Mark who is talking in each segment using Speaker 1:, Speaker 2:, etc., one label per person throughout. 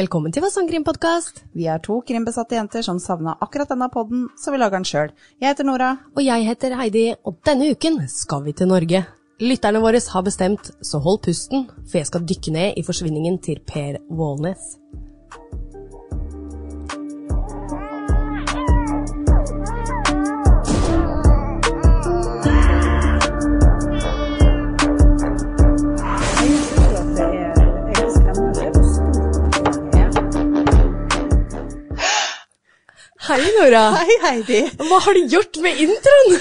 Speaker 1: Velkommen til Fasong Krimpodkast.
Speaker 2: Vi er to krimbesatte jenter som savna akkurat denne podden, så vi lager den sjøl. Jeg heter Nora.
Speaker 1: Og jeg heter Heidi, og denne uken skal vi til Norge. Lytterne våre har bestemt, så hold pusten, for jeg skal dykke ned i forsvinningen til Per Vålnes. Hei, Nora.
Speaker 2: Hei, Heidi.
Speaker 1: Hva har du gjort med introen?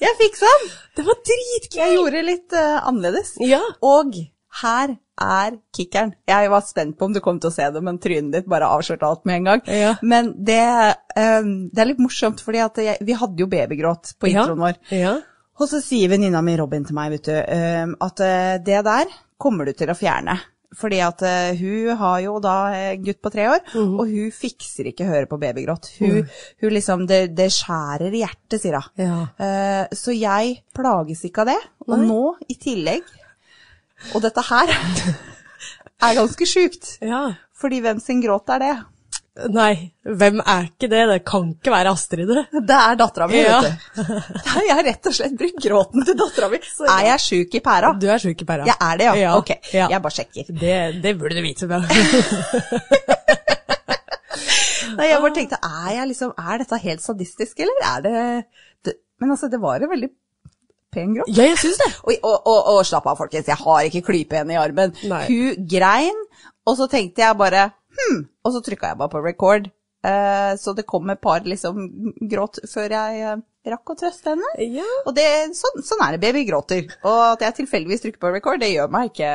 Speaker 2: Jeg fiksa den!
Speaker 1: Det var dritgøy.
Speaker 2: Jeg gjorde litt eh, annerledes.
Speaker 1: Ja.
Speaker 2: Og her er kickeren. Jeg var spent på om du kom til å se det, men trynet ditt bare avslørte alt med en gang.
Speaker 1: Ja.
Speaker 2: Men det, eh, det er litt morsomt, fordi at jeg, vi hadde jo babygråt på
Speaker 1: Ja.
Speaker 2: introen vår.
Speaker 1: Ja.
Speaker 2: Og så sier venninna mi Robin til meg, vet du, ehm, at eh, det der kommer du til å fjerne. Fordi at eh, hun har jo da eh, gutt på tre år, og hun fikser ikke å høre på babygråt. Hun, hun liksom, det, det skjærer i hjertet, sier hun.
Speaker 1: Ja.
Speaker 2: Eh, så jeg plages ikke av det. Og nå, i tillegg, og dette her er ganske sjukt.
Speaker 1: ja.
Speaker 2: Fordi hvem sin gråt er det?
Speaker 1: Nei, hvem er ikke det? Det kan ikke være Astrid, det.
Speaker 2: Det er dattera mi,
Speaker 1: Ja.
Speaker 2: vet du. Nei, Jeg har rett og slett brukt gråten til dattera mi. Er jeg sjuk i pæra?
Speaker 1: Du er sjuk i pæra.
Speaker 2: Jeg er det, ja. Ok,
Speaker 1: ja.
Speaker 2: jeg bare sjekker.
Speaker 1: Det, det burde du vite. Da.
Speaker 2: Nei,
Speaker 1: Ah.
Speaker 2: jeg bare tenkte, er, jeg liksom, er dette helt sadistisk, eller er det, det Men altså, det var en veldig pen gråt.
Speaker 1: Ja, jeg syns det.
Speaker 2: Og, og, og, og slapp av, folkens, jeg har ikke klype henne i armen.
Speaker 1: Nei.
Speaker 2: Hun grein, og så tenkte jeg bare hm, og så trykka jeg bare på record. Eh, så det kom et par liksom gråt før jeg eh, rakk å trøste henne.
Speaker 1: Ja.
Speaker 2: Og det, sånn, sånn er det, baby gråter. Og at jeg tilfeldigvis trykker på record, det gjør meg ikke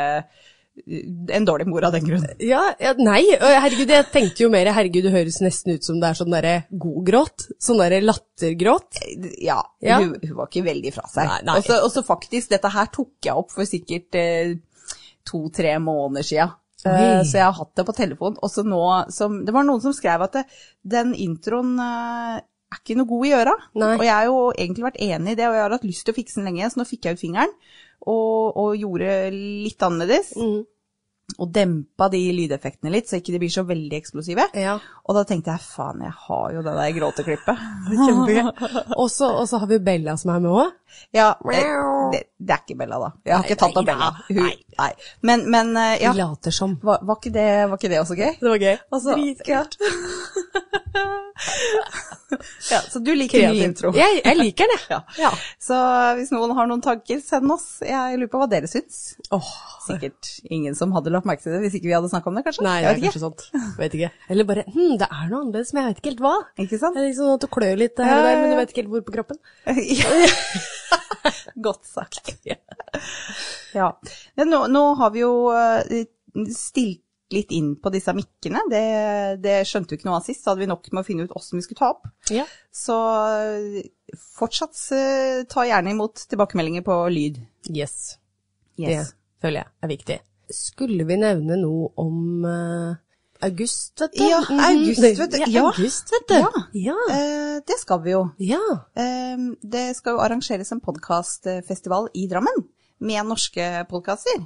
Speaker 2: eh, en dårlig mor av den grunn.
Speaker 1: Ja, ja, nei, ø, herregud, jeg tenkte jo mer, herregud, det høres nesten ut som det er sånn derre god gråt, sånn derre lattergråt.
Speaker 2: ja,
Speaker 1: Ja.
Speaker 2: Hun, hun var ikke veldig fra seg.
Speaker 1: Nei, nei.
Speaker 2: Og så- Og så faktisk, dette her tok jeg opp for sikkert eh, to-tre måneder sia. Eh,
Speaker 1: Oi.
Speaker 2: så jeg har hatt det på telefon. Og så nå som Det var noen som skrev at det, den introen eh, er ikke noe god i øra.
Speaker 1: Nei.
Speaker 2: Og jeg har jo egentlig vært enig i det, og jeg har hatt lyst til å fikse den lenge, så nå fikk jeg ut fingeren. Og, og gjorde litt annerledes.
Speaker 1: Mm.
Speaker 2: Og dempa de lydeffektene litt, så ikke de blir så veldig eksplosive.
Speaker 1: Ja.
Speaker 2: Og da tenkte jeg faen, jeg har jo det der gråteklippet.
Speaker 1: Og så og så har vi Bella som er med òg.
Speaker 2: Ja, eh,
Speaker 1: Meow.
Speaker 2: det, det er ikke Bella, da. Jeg har
Speaker 1: Nei,
Speaker 2: ikke tatt av
Speaker 1: nei,
Speaker 2: Bella.
Speaker 1: ja,
Speaker 2: Hun,
Speaker 1: nei.
Speaker 2: nei. Men, men eh, ja,
Speaker 1: Vi later som.
Speaker 2: var, var, ikke det, var ikke det også gøy?
Speaker 1: Det var gøy.
Speaker 2: Altså-
Speaker 1: Dritkult.
Speaker 2: Ja, så du liker ny
Speaker 1: Kreativt.
Speaker 2: intro.
Speaker 1: Jeg, jeg liker den, jeg.
Speaker 2: Ja. Så hvis noen har noen tanker, send oss. Jeg lurer på hva dere syns.
Speaker 1: Åh,
Speaker 2: Sikkert ingen som hadde lagt merke til det hvis ikke vi hadde snakka om det, kanskje?
Speaker 1: nei, det er
Speaker 2: jeg vet ikke.
Speaker 1: kanskje sånt. Vet ikke. Eller bare hm, det er noe annerledes, men jeg vet ikke helt hva.
Speaker 2: Ikke
Speaker 1: Det
Speaker 2: sant?
Speaker 1: er liksom sånn at du klør litt her og der, men du vet ikke helt hvor på kroppen.
Speaker 2: Ja. Godt sagt.
Speaker 1: Ja.
Speaker 2: Ja. Men nå, nå har vi jo eh, stilt litt inn på disse mikkene. Det, det skjønte vi ikke noe av sist, så hadde vi nok med å finne ut åssen vi skulle ta opp.
Speaker 1: Ja.
Speaker 2: Så eh, fortsatt eh, ta gjerne imot tilbakemeldinger på lyd.
Speaker 1: Yes.
Speaker 2: Yes.
Speaker 1: Det føler jeg er viktig. Skulle vi nevne noe om eh, august, vet du?
Speaker 2: Ja,
Speaker 1: Mhm.
Speaker 2: august, vet du.
Speaker 1: Ja,
Speaker 2: Ja.
Speaker 1: august, vet du.
Speaker 2: Ja.
Speaker 1: Ja.
Speaker 2: Eh, det skal vi jo.
Speaker 1: ja.
Speaker 2: Eh, det skal jo arrangeres en podkastfestival i Drammen med norske podkaster.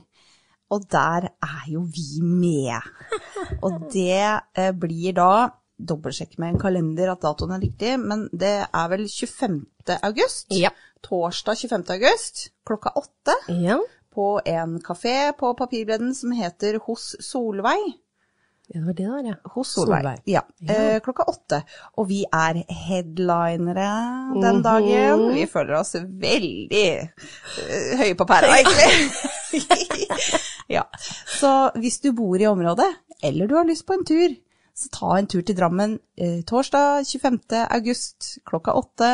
Speaker 2: Og der er jo vi med. Og det eh, blir da Dobbeltsjekk med en kalender at datoen er riktig, men det er vel 25. august?
Speaker 1: Ja.
Speaker 2: Torsdag 25. august klokka åtte.
Speaker 1: Ja.
Speaker 2: på en kafé på Papirbredden som heter Hos Solveig.
Speaker 1: Ja, det var det der, ja.
Speaker 2: Hos Solveig.
Speaker 1: Solveig.
Speaker 2: Ja,
Speaker 1: Ja.
Speaker 2: Eh, klokka åtte. Og vi er headlinere den
Speaker 1: Mhm.
Speaker 2: dagen. Vi føler oss veldig eh, høye på pæra, egentlig. ja. Så hvis du bor i området, eller du har lyst på en tur, så ta en tur til Drammen eh, torsdag 25. august klokka åtte.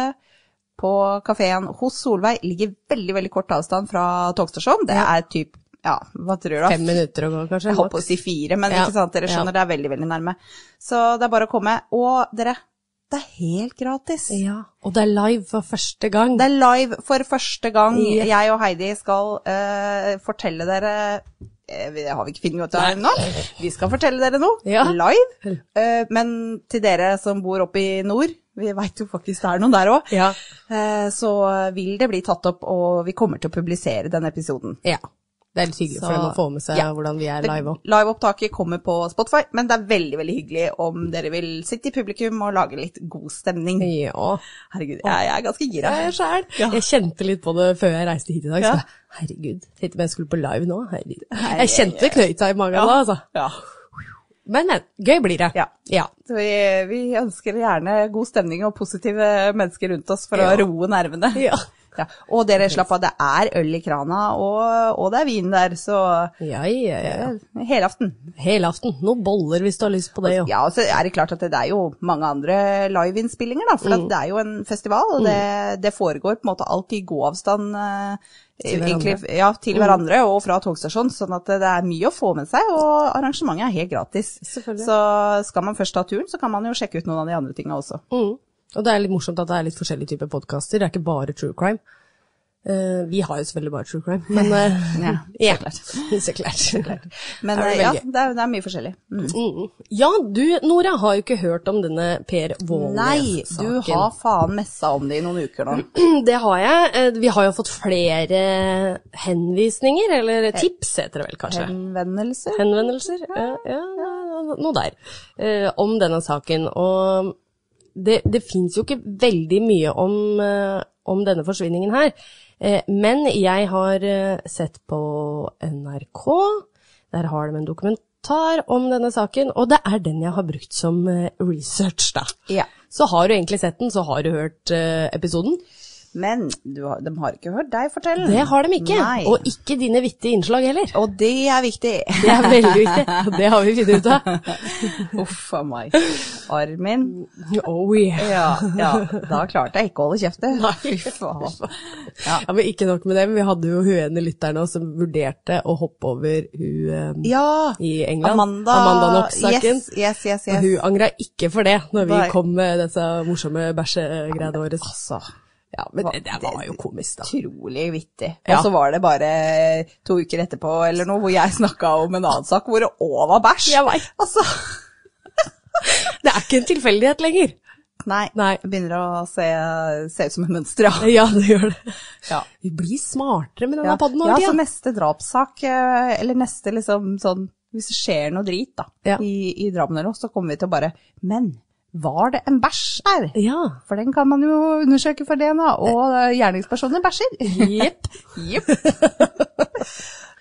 Speaker 2: På kafeen hos Solveig ligger veldig veldig kort avstand fra togstasjonen. Det er typ, ja, hva tror du?
Speaker 1: Fem minutter å gå, kanskje?
Speaker 2: Jeg holdt på å si fire, men
Speaker 1: Ja,
Speaker 2: ikke sant, dere skjønner, det er veldig, veldig nærme. Så det er bare å komme. Og dere, det er helt gratis.
Speaker 1: Ja, og det er live for første gang.
Speaker 2: Det er live for første gang.
Speaker 1: Ja.
Speaker 2: Jeg og Heidi skal eh, fortelle dere eh, vi- har vi ikke film ut av ennå? Vi skal fortelle dere noe
Speaker 1: Ja.
Speaker 2: live. Eh, men til dere som bor oppe i nord, vi veit jo faktisk det er noen der eh, òg,
Speaker 1: Ja.
Speaker 2: så vil det bli tatt opp, og vi kommer til å publisere den episoden.
Speaker 1: ja. Det er litt hyggelig for
Speaker 2: Så-
Speaker 1: dem å få med seg
Speaker 2: Ja.
Speaker 1: hvordan vi er live òg.
Speaker 2: Det- Liveopptaket kommer på Spotify, men det er veldig veldig hyggelig om dere vil sitte i publikum og lage litt god stemning.
Speaker 1: Ja.
Speaker 2: Herregud, jeg, jeg er ganske gira.
Speaker 1: Jeg er sjæl.
Speaker 2: Ja.
Speaker 1: Jeg kjente litt på det før jeg reiste hit i dag.
Speaker 2: Ja.
Speaker 1: Så jeg, herregud, tenkte om jeg skulle på live nå. Herregud. Jeg kjente det knøt seg i magen da, altså.
Speaker 2: Ja.
Speaker 1: Men, men gøy blir det.
Speaker 2: Ja.
Speaker 1: ja.
Speaker 2: Så vi, vi ønsker gjerne god stemning og positive mennesker rundt oss for
Speaker 1: Ja.
Speaker 2: å roe nervene.
Speaker 1: Ja.
Speaker 2: Ja. Og dere, slapp av, det er øl i krana, og, og det er vin der, så
Speaker 1: Ja, ja, ja.
Speaker 2: eh, helaften.
Speaker 1: Helaften. Noen boller hvis du har lyst på det, jo.
Speaker 2: Ja, og så er det klart at det det er jo mange andre liveinnspillinger, da.
Speaker 1: Mm.
Speaker 2: For at det er jo en festival, og det, det foregår på en måte alt i gåavstand eh,
Speaker 1: Til Mm.
Speaker 2: egentlig, ja, til hverandre og fra togstasjonen. Sånn at det er mye å få med seg, og arrangementet er helt gratis.
Speaker 1: Selvfølgelig.
Speaker 2: Så skal man først ta turen, så kan man jo sjekke ut noen av de andre tinga også.
Speaker 1: Mm. Og det er litt morsomt at det er litt forskjellige typer podkaster. Det er ikke bare true crime. Eh, vi har jo selvfølgelig bare true crime, men eh,
Speaker 2: Ja,
Speaker 1: ja,
Speaker 2: klart.
Speaker 1: så klart.
Speaker 2: Men
Speaker 1: Er det
Speaker 2: eh, ja,
Speaker 1: veldig-
Speaker 2: det er, det er mye forskjellig. Mm.
Speaker 1: Mm. Ja, du Nora har jo ikke hørt om denne Per
Speaker 2: Nei,
Speaker 1: Vålnes-saken.
Speaker 2: du har faen messa om det i noen uker nå.
Speaker 1: Det har jeg. Eh, Vi har jo fått flere henvisninger,
Speaker 2: Eh,
Speaker 1: eller tips heter det vel kanskje.
Speaker 2: Henvendelse?
Speaker 1: Henvendelser, ja, ja, ja, noe der, eh, om denne saken. Og det, det finnes jo ikke veldig mye om, eh, om denne forsvinningen her. Eh, men jeg har eh, sett på NRK, der har de en dokumentar om denne saken, og det er den jeg har brukt som eh, research, da.
Speaker 2: Ja.
Speaker 1: Så har du egentlig sett den, så har du hørt eh, episoden.
Speaker 2: Men du, har- de har ikke hørt deg fortelle.
Speaker 1: Det har de ikke.
Speaker 2: Nei.
Speaker 1: Og ikke dine vittige innslag heller.
Speaker 2: Og det er viktig.
Speaker 1: Det er veldig viktig, og det har vi funnet ut av.
Speaker 2: Uff a meg. Armin.
Speaker 1: Oh yeah.
Speaker 2: Ja, ja, da klarte jeg ikke å holde kjeft. Fy faen. Ja.
Speaker 1: Ja, men ikke nok med det, men vi hadde jo hun ene lytteren også som vurderte å hoppe over hun eh,
Speaker 2: ja.
Speaker 1: i England.
Speaker 2: Amanda,
Speaker 1: Amanda Knox-saken.
Speaker 2: Yes, yes,
Speaker 1: Og
Speaker 2: yes. yes.
Speaker 1: hun angra ikke for det, når vi
Speaker 2: Nei.
Speaker 1: kom med disse morsomme bæsjegreiene våre.
Speaker 2: Altså,
Speaker 1: Ja, men det, det var jo komisk, da.
Speaker 2: utrolig vittig.
Speaker 1: Ja.
Speaker 2: Og så var det bare to uker etterpå eller noe, hvor jeg snakka om en annen sak hvor det òg var bæsj.
Speaker 1: Jeg vet.
Speaker 2: Altså,
Speaker 1: Det er ikke en tilfeldighet lenger.
Speaker 2: nei.
Speaker 1: Nei.
Speaker 2: det Begynner å se, se ut som et mønster, ja.
Speaker 1: Ja, det gjør det.
Speaker 2: ja.
Speaker 1: Vi blir smartere med denne
Speaker 2: Ja,
Speaker 1: podden
Speaker 2: ja, altså,
Speaker 1: over
Speaker 2: så
Speaker 1: tida.
Speaker 2: neste drapssak, eh, eller neste liksom sånn Hvis det skjer noe drit da,
Speaker 1: Ja.
Speaker 2: i, i Drammen eller noe, så kommer vi til å bare Men var det en bæsj der?
Speaker 1: Ja.
Speaker 2: For den kan man jo undersøke for DNA, og eh, gjerningspersoner bæsjer.
Speaker 1: Jepp.
Speaker 2: Jepp.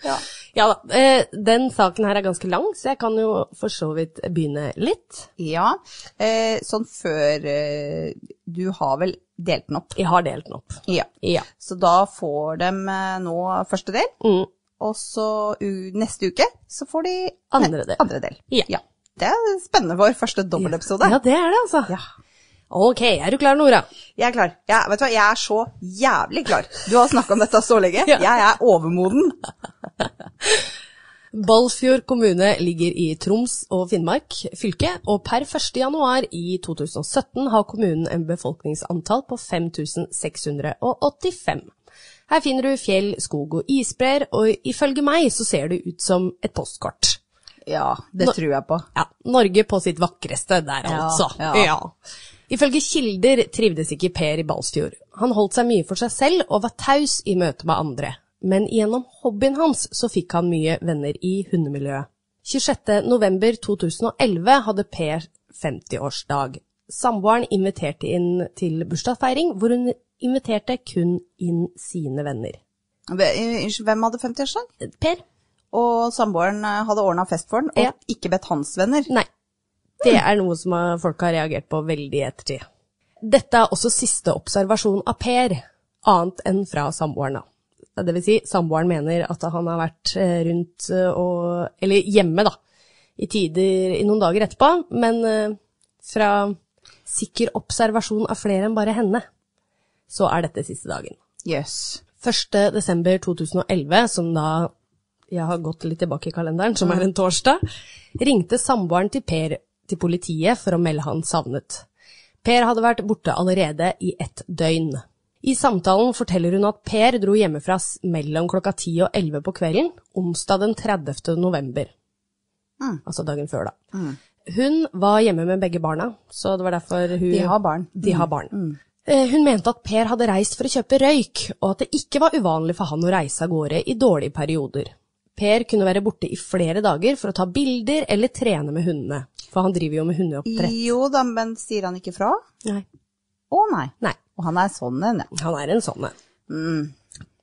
Speaker 2: ja.
Speaker 1: Ja da. eh, Den saken her er ganske lang, så jeg kan jo for så vidt begynne litt.
Speaker 2: ja. Eh, sånn før eh, Du har vel delt den opp?
Speaker 1: Jeg har delt den opp.
Speaker 2: Ja.
Speaker 1: Ja.
Speaker 2: Så da får de eh, nå første del,
Speaker 1: Mm.
Speaker 2: og så u neste uke så får de
Speaker 1: Andre del.
Speaker 2: Andre del.
Speaker 1: Ja.
Speaker 2: Det er spennende vår første dobbeltepisode.
Speaker 1: Ja, det er det, altså.
Speaker 2: Ja.
Speaker 1: Ok, er du klar, Nora?
Speaker 2: Jeg er klar. Jeg, vet du hva, jeg er så jævlig klar. Du har snakka om dette så lenge.
Speaker 1: Ja.
Speaker 2: Jeg er overmoden.
Speaker 1: Balfjord kommune ligger i Troms og Finnmark fylke, og per 1. januar i 2017 har kommunen en befolkningsantall på 5685. Her finner du fjell, skog og isbreer, og ifølge meg så ser det ut som et postkort.
Speaker 2: Ja, det
Speaker 1: Nå-
Speaker 2: tror jeg på.
Speaker 1: Ja, Norge på sitt vakreste der,
Speaker 2: Ja,
Speaker 1: altså.
Speaker 2: ja.
Speaker 1: Ifølge kilder trivdes ikke Per i Balsfjord. Han holdt seg mye for seg selv og var taus i møte med andre. Men gjennom hobbyen hans så fikk han mye venner i hundemiljøet. 26.11.2011 hadde Per 50-årsdag. Samboeren inviterte inn til bursdagsfeiring, hvor hun inviterte kun inn sine venner.
Speaker 2: Unnskyld, hvem hadde 50-årsdag?
Speaker 1: Per?
Speaker 2: Og samboeren eh, hadde ordna fest for den, og
Speaker 1: Ja.
Speaker 2: ikke bedt hans venner.
Speaker 1: Nei. Det er noe som eh, folk har reagert på veldig i ettertid. Dette er også siste observasjon av Per, annet enn fra samboeren. da. Det vil si, samboeren mener at han har vært eh, rundt eh, og Eller hjemme, da. I tider i noen dager etterpå, men eh, fra sikker observasjon av flere enn bare henne, så er dette siste dagen.
Speaker 2: Jøss.
Speaker 1: 1. desember 2011, som da jeg har gått litt tilbake i kalenderen, som
Speaker 2: Mm.
Speaker 1: er en torsdag, ringte samboeren til Per til politiet for å melde han savnet. Per hadde vært borte allerede i ett døgn. I samtalen forteller hun at Per dro hjemmefra s- mellom klokka 10 og 11 på kvelden, onsdag den 30. november.
Speaker 2: Mm.
Speaker 1: Altså dagen før, da. Hun var hjemme med begge barna, så det var derfor hun
Speaker 2: De har barn.
Speaker 1: de har barn. Eh, Hun mente at Per hadde reist for å kjøpe røyk, og at det ikke var uvanlig for han å reise av gårde i dårlige perioder. Per kunne være borte i flere dager for å ta bilder eller trene med hundene. For han driver jo med hundeoppdrett.
Speaker 2: Jo da, men sier han ikke fra?
Speaker 1: Nei.
Speaker 2: Å nei.
Speaker 1: Nei,
Speaker 2: Og han er sånn en, ja.
Speaker 1: han er en sånn en.
Speaker 2: Mm.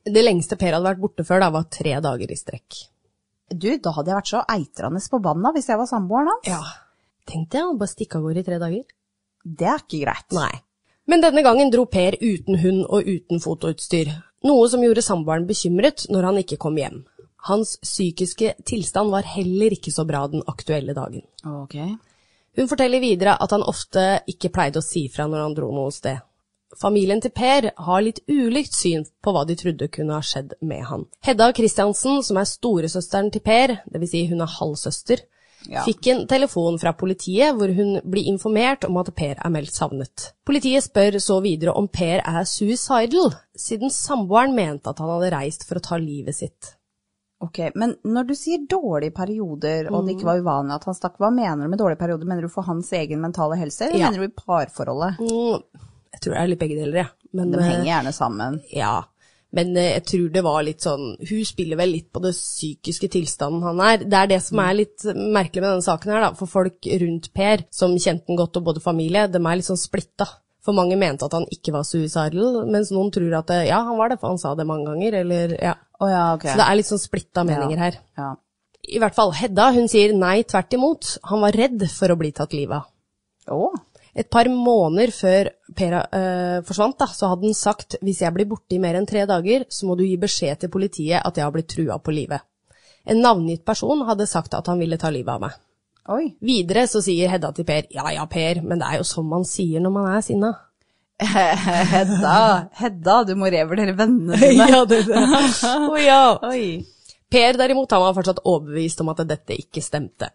Speaker 1: Det lengste Per hadde vært borte før, da, var tre dager i strekk.
Speaker 2: Du, da hadde jeg vært så eitrende forbanna hvis jeg var samboeren hans.
Speaker 1: Ja. Tenkte jeg, han bare stikke av gårde i tre dager.
Speaker 2: Det er ikke greit.
Speaker 1: Nei. Men denne gangen dro Per uten hund og uten fotoutstyr, noe som gjorde samboeren bekymret når han ikke kom hjem. Hans psykiske tilstand var heller ikke så bra den aktuelle dagen.
Speaker 2: Ok.
Speaker 1: Hun forteller videre at han ofte ikke pleide å si fra når han dro noe sted. Familien til Per har litt ulikt syn på hva de trodde kunne ha skjedd med han. Hedda Kristiansen, som er storesøsteren til Per, dvs. Si hun er halvsøster,
Speaker 2: Ja.
Speaker 1: fikk en telefon fra politiet hvor hun blir informert om at Per er meldt savnet. Politiet spør så videre om Per er suicidal, siden samboeren mente at han hadde reist for å ta livet sitt.
Speaker 2: Ok, Men når du sier dårlige perioder, og det
Speaker 1: Mm.
Speaker 2: ikke var uvanlig at han stakk, hva mener du med dårlige perioder? Mener du for hans egen mentale helse, eller
Speaker 1: Ja.
Speaker 2: mener du i parforholdet?
Speaker 1: Mm, jeg tror det er litt begge deler, jeg. Men,
Speaker 2: De
Speaker 1: eh,
Speaker 2: henger gjerne sammen.
Speaker 1: Ja, men eh, jeg tror det var litt sånn Hun spiller vel litt på det psykiske tilstanden han er. Det er det som er litt merkelig med denne saken her, da. For folk rundt Per, som kjente han godt og både familie, de er litt sånn splitta. For mange mente at han ikke var suicidal, mens noen tror at eh, ja, han var det, for han sa det mange ganger, eller ja.
Speaker 2: Å ja, ok.
Speaker 1: Så det er litt sånn splitta meninger her.
Speaker 2: ja.
Speaker 1: I hvert fall Hedda, hun sier nei, tvert imot. Han var redd for å bli tatt livet av.
Speaker 2: Å,
Speaker 1: Et par måneder før Per eh, forsvant, da, så hadde han sagt hvis jeg blir borte i mer enn tre dager, så må du gi beskjed til politiet at jeg har blitt trua på livet. En navngitt person hadde sagt at han ville ta livet av meg.
Speaker 2: oi.
Speaker 1: Videre så sier Hedda til Per ja ja, Per, men det er jo sånn man sier når man er sinna.
Speaker 2: Hedda, Hedda, du må revurdere vennene dine.
Speaker 1: ja, det, det. Å ja.
Speaker 2: Oi.
Speaker 1: Per derimot han var fortsatt overbevist om at dette ikke stemte.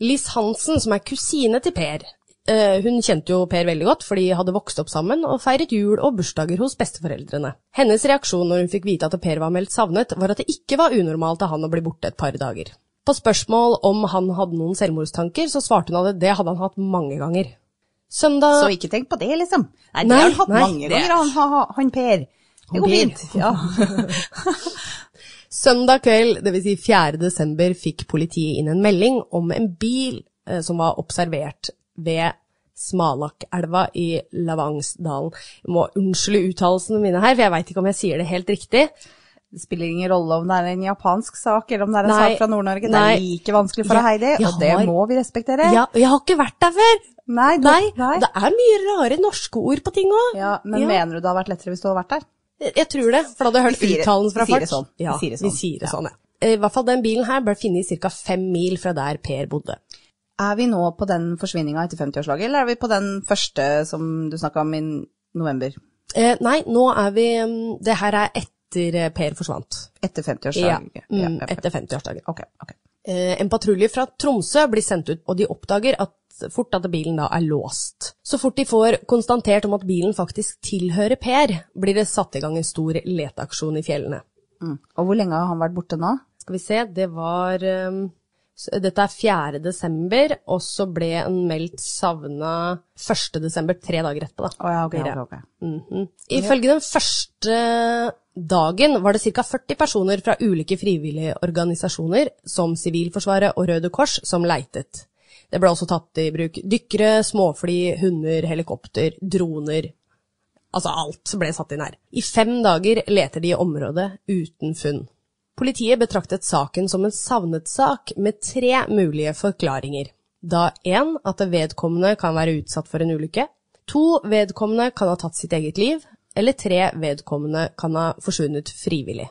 Speaker 1: Liss Hansen, som er kusine til Per, eh, hun kjente jo Per veldig godt, for de hadde vokst opp sammen og feiret jul og bursdager hos besteforeldrene. Hennes reaksjon når hun fikk vite at Per var meldt savnet, var at det ikke var unormalt av han å bli borte et par dager. På spørsmål om han hadde noen selvmordstanker, så svarte hun at det hadde han hatt mange ganger. Søndag
Speaker 2: Så ikke tenk på det, liksom. Nei, det
Speaker 1: Nei,
Speaker 2: har han hatt
Speaker 1: nei,
Speaker 2: mange
Speaker 1: det-
Speaker 2: ganger, han, ha- ha- han Per. Det
Speaker 1: Per.
Speaker 2: går fint. Ja.
Speaker 1: Søndag kveld, dvs. Si 4. desember, fikk politiet inn en melding om en bil eh, som var observert ved Smalakkelva i Lavangsdalen. Jeg må unnskylde uttalelsene mine her, for jeg veit ikke om jeg sier det helt riktig.
Speaker 2: Det spiller ingen rolle om det er en japansk sak, eller om det er en
Speaker 1: Nei,
Speaker 2: sak fra Nord-Norge. Det
Speaker 1: nei.
Speaker 2: er like vanskelig for
Speaker 1: Jeg-
Speaker 2: deg, Heidi,
Speaker 1: jeg
Speaker 2: og det
Speaker 1: har-
Speaker 2: må vi respektere.
Speaker 1: Ja, jeg har ikke vært der før!
Speaker 2: Nei, du,
Speaker 1: Nei,
Speaker 2: nei.
Speaker 1: det er mye rare norske ord på ting òg.
Speaker 2: Ja, men mener du det har vært lettere hvis du hadde vært der?
Speaker 1: Jeg tror det, for da hadde jeg hørt
Speaker 2: Vi sier det-
Speaker 1: uttalen fra
Speaker 2: vi
Speaker 1: folk.
Speaker 2: sier det sånn. Vi
Speaker 1: Ja,
Speaker 2: sier det
Speaker 1: vi
Speaker 2: sånn.
Speaker 1: sier det sånn, ja. I hvert fall den bilen her ble funnet ca. fem mil fra der Per bodde.
Speaker 2: Er vi nå på den forsvinninga etter 50-årslaget, eller er vi på den første som du snakka om i november?
Speaker 1: Eh, nei, nå er vi mm, Det her er etter eh, Per forsvant.
Speaker 2: Etter
Speaker 1: Ja,
Speaker 2: 50-årslaget?
Speaker 1: mm, etter 50-årsdagen.
Speaker 2: Ok, ok.
Speaker 1: Eh, En patrulje fra Tromsø blir sendt ut, og de oppdager at fort at bilen da er låst. Så fort de får konstatert om at bilen faktisk tilhører Per, blir det satt i gang en stor leteaksjon i fjellene.
Speaker 2: Mm. Og hvor lenge har han vært borte nå?
Speaker 1: Skal vi se, det var eh, s- Dette er 4. desember, og så ble en meldt savna 1. desember, tre dager etterpå, da.
Speaker 2: Å ja, ok,
Speaker 1: Blir det.
Speaker 2: ok, ok.
Speaker 1: Mhm. Ifølge den første dagen var det ca. 40 personer fra ulike frivillige organisasjoner, som Sivilforsvaret og Røde Kors, som leitet. Det ble også tatt i bruk dykkere, småfly, hunder, helikopter, droner Altså alt ble satt inn her. I fem dager leter de i området uten funn. Politiet betraktet saken som en savnet sak med tre mulige forklaringer. Da én at vedkommende kan være utsatt for en ulykke, to vedkommende kan ha tatt sitt eget liv, eller tre vedkommende kan ha forsvunnet frivillig.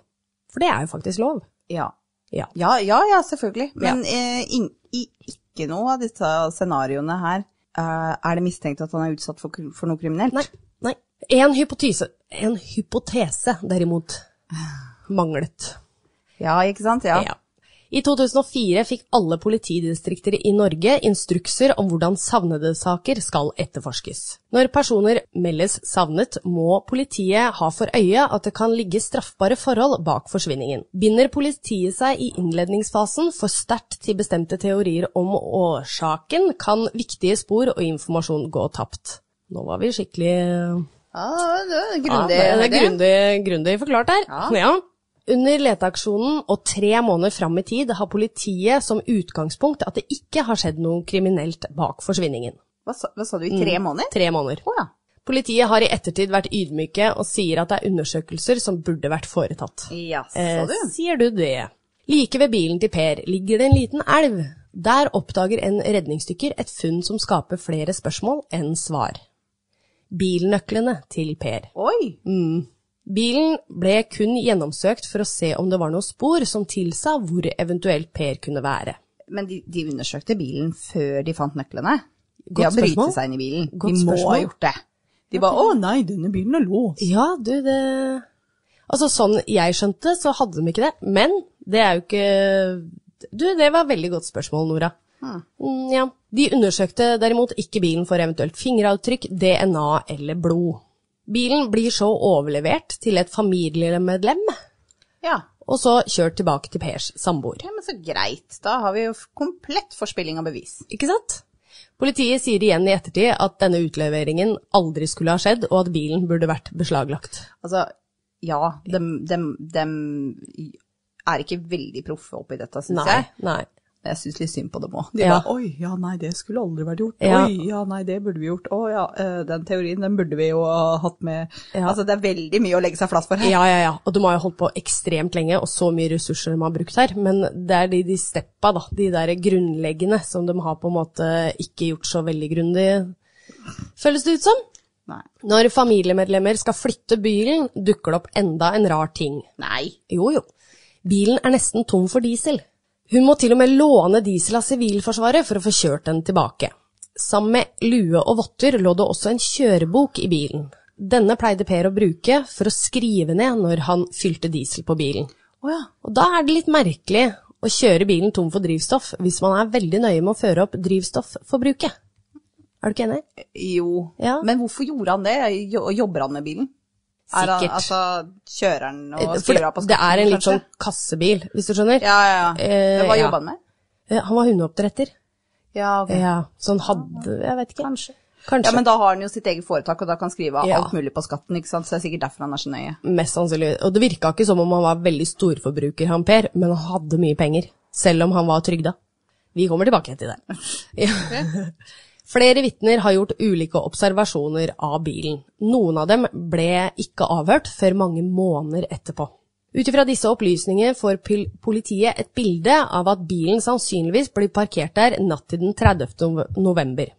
Speaker 1: For det er jo faktisk lov.
Speaker 2: Ja.
Speaker 1: Ja.
Speaker 2: Ja, ja, ja, selvfølgelig. Men eh, ing- i, ikke noe av disse scenarioene her eh, er det mistenkt at han er utsatt for, kr- for noe kriminelt.
Speaker 1: Nei, nei. En hypotese, en hypotese derimot, manglet.
Speaker 2: Ja, ikke sant? Ja.
Speaker 1: Ja. I 2004 fikk alle politidistrikter i Norge instrukser om hvordan savnede saker skal etterforskes. Når personer meldes savnet, må politiet ha for øye at det kan ligge straffbare forhold bak forsvinningen. Binder politiet seg i innledningsfasen for sterkt til bestemte teorier om årsaken, kan viktige spor og informasjon gå tapt. Nå var vi skikkelig
Speaker 2: Ah, det er
Speaker 1: ja, det er grundig, grundig forklart her. Ja. Under leteaksjonen og tre måneder fram i tid har politiet som utgangspunkt at det ikke har skjedd noe kriminelt bak forsvinningen.
Speaker 2: Hva sa, hva sa du, i tre måneder?
Speaker 1: Tre måneder.
Speaker 2: Mm. Å ja.
Speaker 1: Politiet har i ettertid vært ydmyke og sier at det er undersøkelser som burde vært foretatt.
Speaker 2: Jaså, du.
Speaker 1: Eh, sier du det? Like ved bilen til Per ligger det en liten elv. Der oppdager en redningsdykker et funn som skaper flere spørsmål enn svar. Bilnøklene til Per.
Speaker 2: Oi.
Speaker 1: Bilen ble kun gjennomsøkt for å se om det var noen spor som tilsa hvor eventuelt Per kunne være.
Speaker 2: Men de, de undersøkte bilen før de fant nøklene.
Speaker 1: Godt
Speaker 2: de har brytet
Speaker 1: spørsmål.
Speaker 2: seg inn i bilen.
Speaker 1: Godt
Speaker 2: de må
Speaker 1: spørsmål.
Speaker 2: ha gjort det. De bare 'Å nei, denne bilen er låst'.
Speaker 1: Ja, du, det Altså, sånn jeg skjønte, så hadde de ikke det. Men det er jo ikke Du, det var et veldig godt spørsmål, Nora. Mm, ja. De undersøkte derimot ikke bilen for eventuelt fingeravtrykk, DNA eller blod. Bilen blir så overlevert til et familiemedlem,
Speaker 2: Ja.
Speaker 1: og så kjørt tilbake til Pers samboer.
Speaker 2: ja, men så greit. Da har vi jo f- komplett forspilling av bevis.
Speaker 1: Ikke sant? Politiet sier igjen i ettertid at denne utleveringen aldri skulle ha skjedd, og at bilen burde vært beslaglagt.
Speaker 2: Altså, ja, dem, dem, dem er ikke veldig proffe oppi dette, syns
Speaker 1: Nei,
Speaker 2: jeg.
Speaker 1: nei.
Speaker 2: Jeg syns litt synd på dem òg. De
Speaker 1: Ja.
Speaker 2: bare 'oi, ja nei, det skulle aldri vært gjort'.
Speaker 1: Ja.
Speaker 2: 'Oi, ja nei, det burde vi gjort'. 'Å ja, eh, den teorien, den burde vi jo ha hatt med'.
Speaker 1: Ja.
Speaker 2: Altså, det er veldig mye å legge seg flat for her.
Speaker 1: Ja, ja, ja. Og de har jo holdt på ekstremt lenge, og så mye ressurser de har brukt her. Men det er de, de steppa, da. De der grunnleggende som de har på en måte ikke gjort så veldig grundig, føles det ut som.
Speaker 2: Nei.
Speaker 1: Når familiemedlemmer skal flytte bilen, dukker det opp enda en rar ting.
Speaker 2: nei.
Speaker 1: Jo, jo. Bilen er nesten tom for diesel. Hun må til og med låne diesel av Sivilforsvaret for å få kjørt den tilbake. Sammen med lue og votter lå det også en kjørebok i bilen. Denne pleide Per å bruke for å skrive ned når han fylte diesel på bilen.
Speaker 2: Å ja.
Speaker 1: Og da er det litt merkelig å kjøre bilen tom for drivstoff hvis man er veldig nøye med å føre opp drivstoffforbruket. Er du ikke enig?
Speaker 2: Jo.
Speaker 1: Ja.
Speaker 2: Men hvorfor gjorde han det? Jo- Jobber han med bilen? Er han,
Speaker 1: Sikkert. Eh,
Speaker 2: altså, kjører han og
Speaker 1: For
Speaker 2: skriver av på
Speaker 1: det er en litt
Speaker 2: kanskje?
Speaker 1: sånn kassebil, hvis du skjønner.
Speaker 2: Ja, ja, ja. Men Hva
Speaker 1: Eh, ja.
Speaker 2: jobber han med?
Speaker 1: Eh, Han var hundeoppdretter.
Speaker 2: Ja, ok.
Speaker 1: Ja, så han hadde Jeg vet ikke.
Speaker 2: Kanskje.
Speaker 1: Kanskje.
Speaker 2: Ja, men da har han jo sitt eget foretak, og da kan han skrive av
Speaker 1: Ja.
Speaker 2: alt mulig på skatten, ikke sant? Så det er sikkert derfor han er så nøye.
Speaker 1: Mest sannsynlig. Og det virka ikke som om han var veldig storforbruker, han Per, men han hadde mye penger. Selv om han var trygda. Vi kommer tilbake til det. Ja. Flere vitner har gjort ulike observasjoner av bilen. Noen av dem ble ikke avhørt før mange måneder etterpå. Ut ifra disse opplysningene får pil- politiet et bilde av at bilen sannsynligvis blir parkert der natt til den 30. nove- november.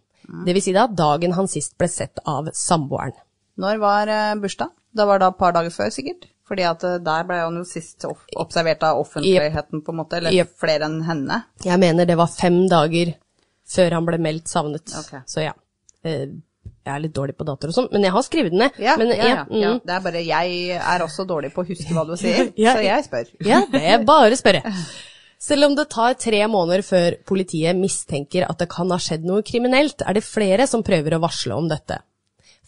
Speaker 1: Det vil si da dagen han sist ble sett av samboeren.
Speaker 2: Når var eh, bursdag? Det var da et par dager før, sikkert? Fordi at eh, der ble han jo sist off- observert av offentligheten, på en måte, eller
Speaker 1: Jep.
Speaker 2: flere enn henne.
Speaker 1: Jeg mener det var fem dager før han ble meldt savnet.
Speaker 2: Ok.
Speaker 1: Så ja. Eh, Jeg er litt dårlig på datoer og sånn, men jeg har skrevet den ned.
Speaker 2: Ja,
Speaker 1: men,
Speaker 2: ja, ja, ja.
Speaker 1: mm.
Speaker 2: Det er bare, jeg er også dårlig på å huske hva du sier,
Speaker 1: Ja.
Speaker 2: så jeg spør.
Speaker 1: ja, det er bare å spørre. Selv om det tar tre måneder før politiet mistenker at det kan ha skjedd noe kriminelt, er det flere som prøver å varsle om dette.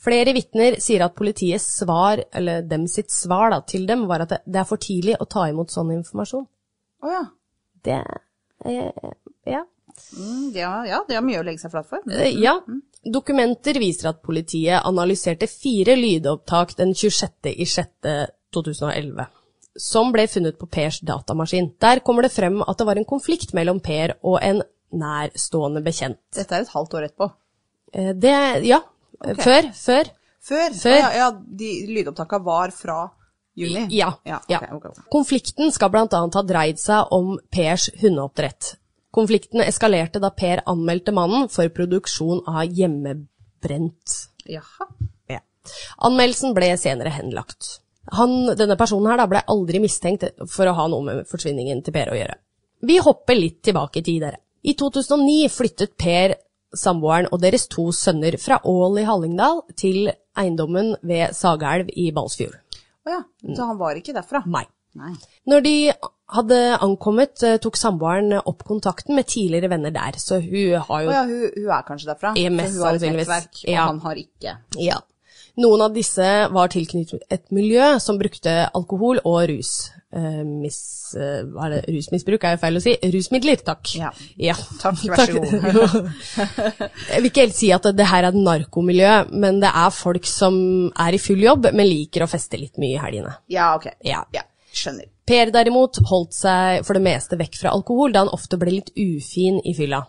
Speaker 1: Flere vitner sier at politiets svar, eller dem sitt svar da, til dem, var at det- det er for tidlig å ta imot sånn informasjon.
Speaker 2: Å ja.
Speaker 1: Det eh, Ja.
Speaker 2: Mm, det har- ja, det har mye å legge seg flat for.
Speaker 1: Eh, Ja. Dokumenter viser at politiet analyserte fire lydopptak den 26.06.2011, som ble funnet på Pers datamaskin. Der kommer det frem at det var en konflikt mellom Per og en nærstående bekjent.
Speaker 2: Dette er et halvt år etterpå.
Speaker 1: Eh, Det Ja. eh, Før. Før.
Speaker 2: Før?
Speaker 1: Før.
Speaker 2: Ja, ja, de lydopptakene var fra juni?
Speaker 1: Ja.
Speaker 2: ja,
Speaker 1: ja.
Speaker 2: ok, ok, ok.
Speaker 1: Konflikten skal bl.a. ha dreid seg om Pers hundeoppdrett. Konflikten eskalerte da Per anmeldte mannen for produksjon av hjemmebrent
Speaker 2: Jaha.
Speaker 1: Ja. Anmeldelsen ble senere henlagt. Han, denne personen her da, ble aldri mistenkt for å ha noe med forsvinningen til Per å gjøre. Vi hopper litt tilbake i tid, dere. I 2009 flyttet Per, samboeren og deres to sønner fra Ål i Hallingdal til eiendommen ved Sagaelv i Balsfjord.
Speaker 2: Å ja, så han var ikke derfra?
Speaker 1: Mai.
Speaker 2: Nei.
Speaker 1: Når de hadde ankommet, eh, tok samboeren opp kontakten med tidligere venner der, så hun har jo
Speaker 2: Å ja, hun, hun er kanskje derfra?
Speaker 1: Ja,
Speaker 2: Så
Speaker 1: mest
Speaker 2: hun har et
Speaker 1: sannsynligvis.
Speaker 2: nettverk, og
Speaker 1: Ja.
Speaker 2: han har ikke.
Speaker 1: Ja. Noen av disse var tilknyttet et miljø som brukte alkohol og rus. Eh, mis, eh, hva er det? Rusmisbruk er jo feil å si. Rusmidler, takk.
Speaker 2: Ja.
Speaker 1: Ja.
Speaker 2: Takk, vær så god.
Speaker 1: Jeg vil ikke helt si at det her er et narkomiljø, men det er folk som er i full jobb, men liker å feste litt mye i helgene.
Speaker 2: Ja, ok.
Speaker 1: Ja.
Speaker 2: skjønner.
Speaker 1: Per derimot holdt seg for det meste vekk fra alkohol, da han ofte ble litt ufin i fylla.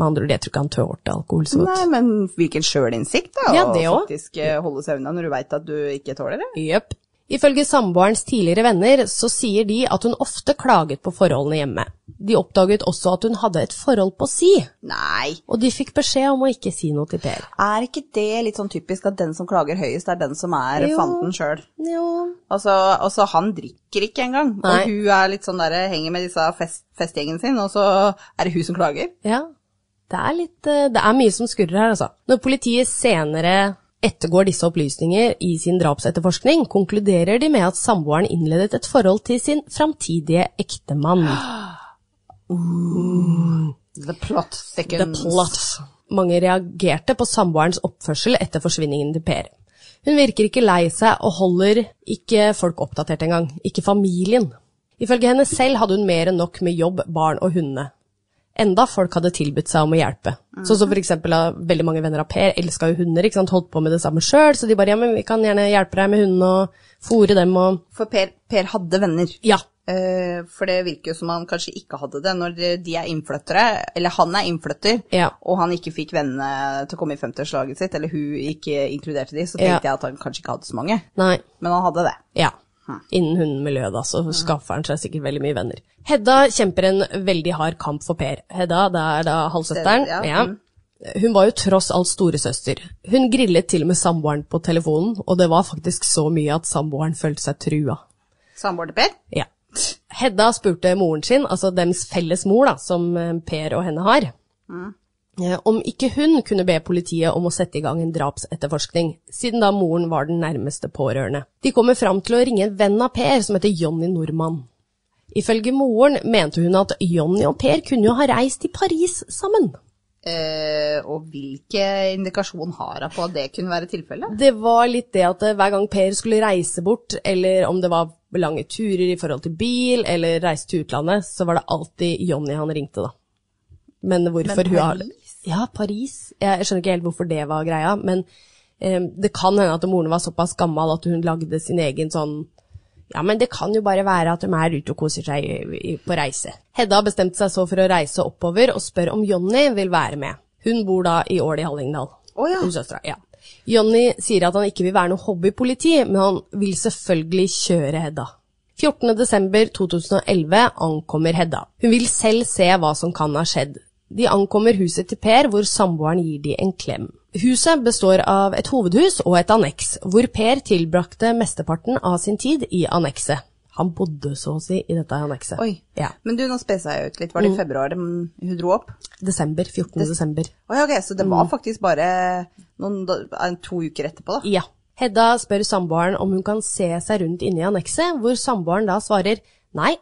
Speaker 1: Med andre ord, jeg tror ikke han tålte alkohol så godt.
Speaker 2: Nei, men hvilken sjølinnsikt, da.
Speaker 1: Ja,
Speaker 2: å
Speaker 1: det også.
Speaker 2: faktisk eh, holde seg unna når du veit at du ikke tåler det.
Speaker 1: Jøp. Ifølge samboerens tidligere venner så sier de at hun ofte klaget på forholdene hjemme. De oppdaget også at hun hadde et forhold på si,
Speaker 2: Nei.
Speaker 1: og de fikk beskjed om å ikke si noe til Per.
Speaker 2: Er ikke det litt sånn typisk at den som klager høyest, er den som er
Speaker 1: Jo.
Speaker 2: fanten sjøl?
Speaker 1: Jo.
Speaker 2: Altså, altså, han drikker ikke engang.
Speaker 1: Nei.
Speaker 2: Og hun er litt sånn der, henger med disse fest, festgjengen sin, og så er det hun som klager.
Speaker 1: Ja. Det er litt eh, Det er mye som skurrer her, altså. Når politiet senere ettergår disse opplysninger i sin drapsetterforskning, konkluderer de med at samboeren innledet et forhold til sin framtidige ektemann.
Speaker 2: The plot
Speaker 1: The
Speaker 2: thickens.
Speaker 1: plot. Mange reagerte på samboerens oppførsel etter forsvinningen til Per. Hun virker ikke lei seg og holder ikke folk oppdatert engang, ikke familien. Ifølge henne selv hadde hun mer enn nok med jobb, barn og hundene. Enda folk hadde tilbudt seg om å hjelpe. Så så for eksempel ah, veldig mange venner av Per elska jo hunder, ikke sant, holdt på med det samme sjøl, så de bare ja, men vi kan gjerne hjelpe deg med hundene og fôre dem og
Speaker 2: For per, per hadde venner.
Speaker 1: Ja.
Speaker 2: Eh, for det virker jo som han kanskje ikke hadde det når de er innflyttere, eller han er innflytter,
Speaker 1: Ja.
Speaker 2: og han ikke fikk vennene til å komme i 50-årslaget sitt, eller hun ikke inkluderte de, så
Speaker 1: Ja.
Speaker 2: tenkte jeg at han kanskje ikke hadde så mange.
Speaker 1: Nei.
Speaker 2: Men han hadde det.
Speaker 1: Ja. Innen hundemiljøet, da, så skaffer han seg sikkert veldig mye venner. Hedda kjemper en veldig hard kamp for Per. Hedda, det er da halvsøsteren.
Speaker 2: Ja,
Speaker 1: Ja.
Speaker 2: mm.
Speaker 1: Hun var jo tross alt storesøster. Hun grillet til og med samboeren på telefonen, og det var faktisk så mye at samboeren følte seg trua.
Speaker 2: Samboer til Per?
Speaker 1: Ja. Hedda spurte moren sin, altså dems felles mor, da, som eh, Per og henne har, eh, om ikke hun kunne be politiet om å sette i gang en drapsetterforskning, siden da moren var den nærmeste pårørende. De kommer fram til å ringe en venn av Per som heter Jonny Nordmann. Ifølge moren mente hun at Jonny og Per kunne jo ha reist til Paris sammen.
Speaker 2: Eh, og hvilke indikasjon har hun på at det kunne være tilfellet?
Speaker 1: Det var litt det at eh, hver gang Per skulle reise bort, eller om det var lange turer i forhold til bil, eller reise til utlandet, så var det alltid Jonny han ringte, da. Men hvorfor
Speaker 2: Men
Speaker 1: hun har
Speaker 2: Paris?
Speaker 1: Ja, Paris. Jeg, jeg skjønner ikke helt hvorfor det var greia, men eh, det kan hende at moren var såpass gammel at hun lagde sin egen sånn ja, men det kan jo bare være at de er ute og koser seg i- i- på reise. Hedda har bestemt seg så for å reise oppover og spør om Jonny vil være med. Hun bor da i Ål i Hallingdal.
Speaker 2: Å ja.
Speaker 1: Hun søstera, ja. Jonny sier at han ikke vil være noe hobbypoliti, men han vil selvfølgelig kjøre Hedda. 14.12.2011 ankommer Hedda. Hun vil selv se hva som kan ha skjedd. De ankommer huset til Per, hvor samboeren gir de en klem. Huset består av et hovedhus og et anneks, hvor Per tilbrakte mesteparten av sin tid i annekset. Han bodde så å si i dette annekset.
Speaker 2: Oi.
Speaker 1: Ja.
Speaker 2: Men du, nå spesa jeg ut litt. Var det i februar mm, hun dro opp?
Speaker 1: Desember. 14. desember.
Speaker 2: Å ja, ok, så det var faktisk bare noen, da- to uker etterpå, da.
Speaker 1: Ja. Hedda spør samboeren om hun kan se seg rundt inne i annekset, hvor samboeren da svarer nei.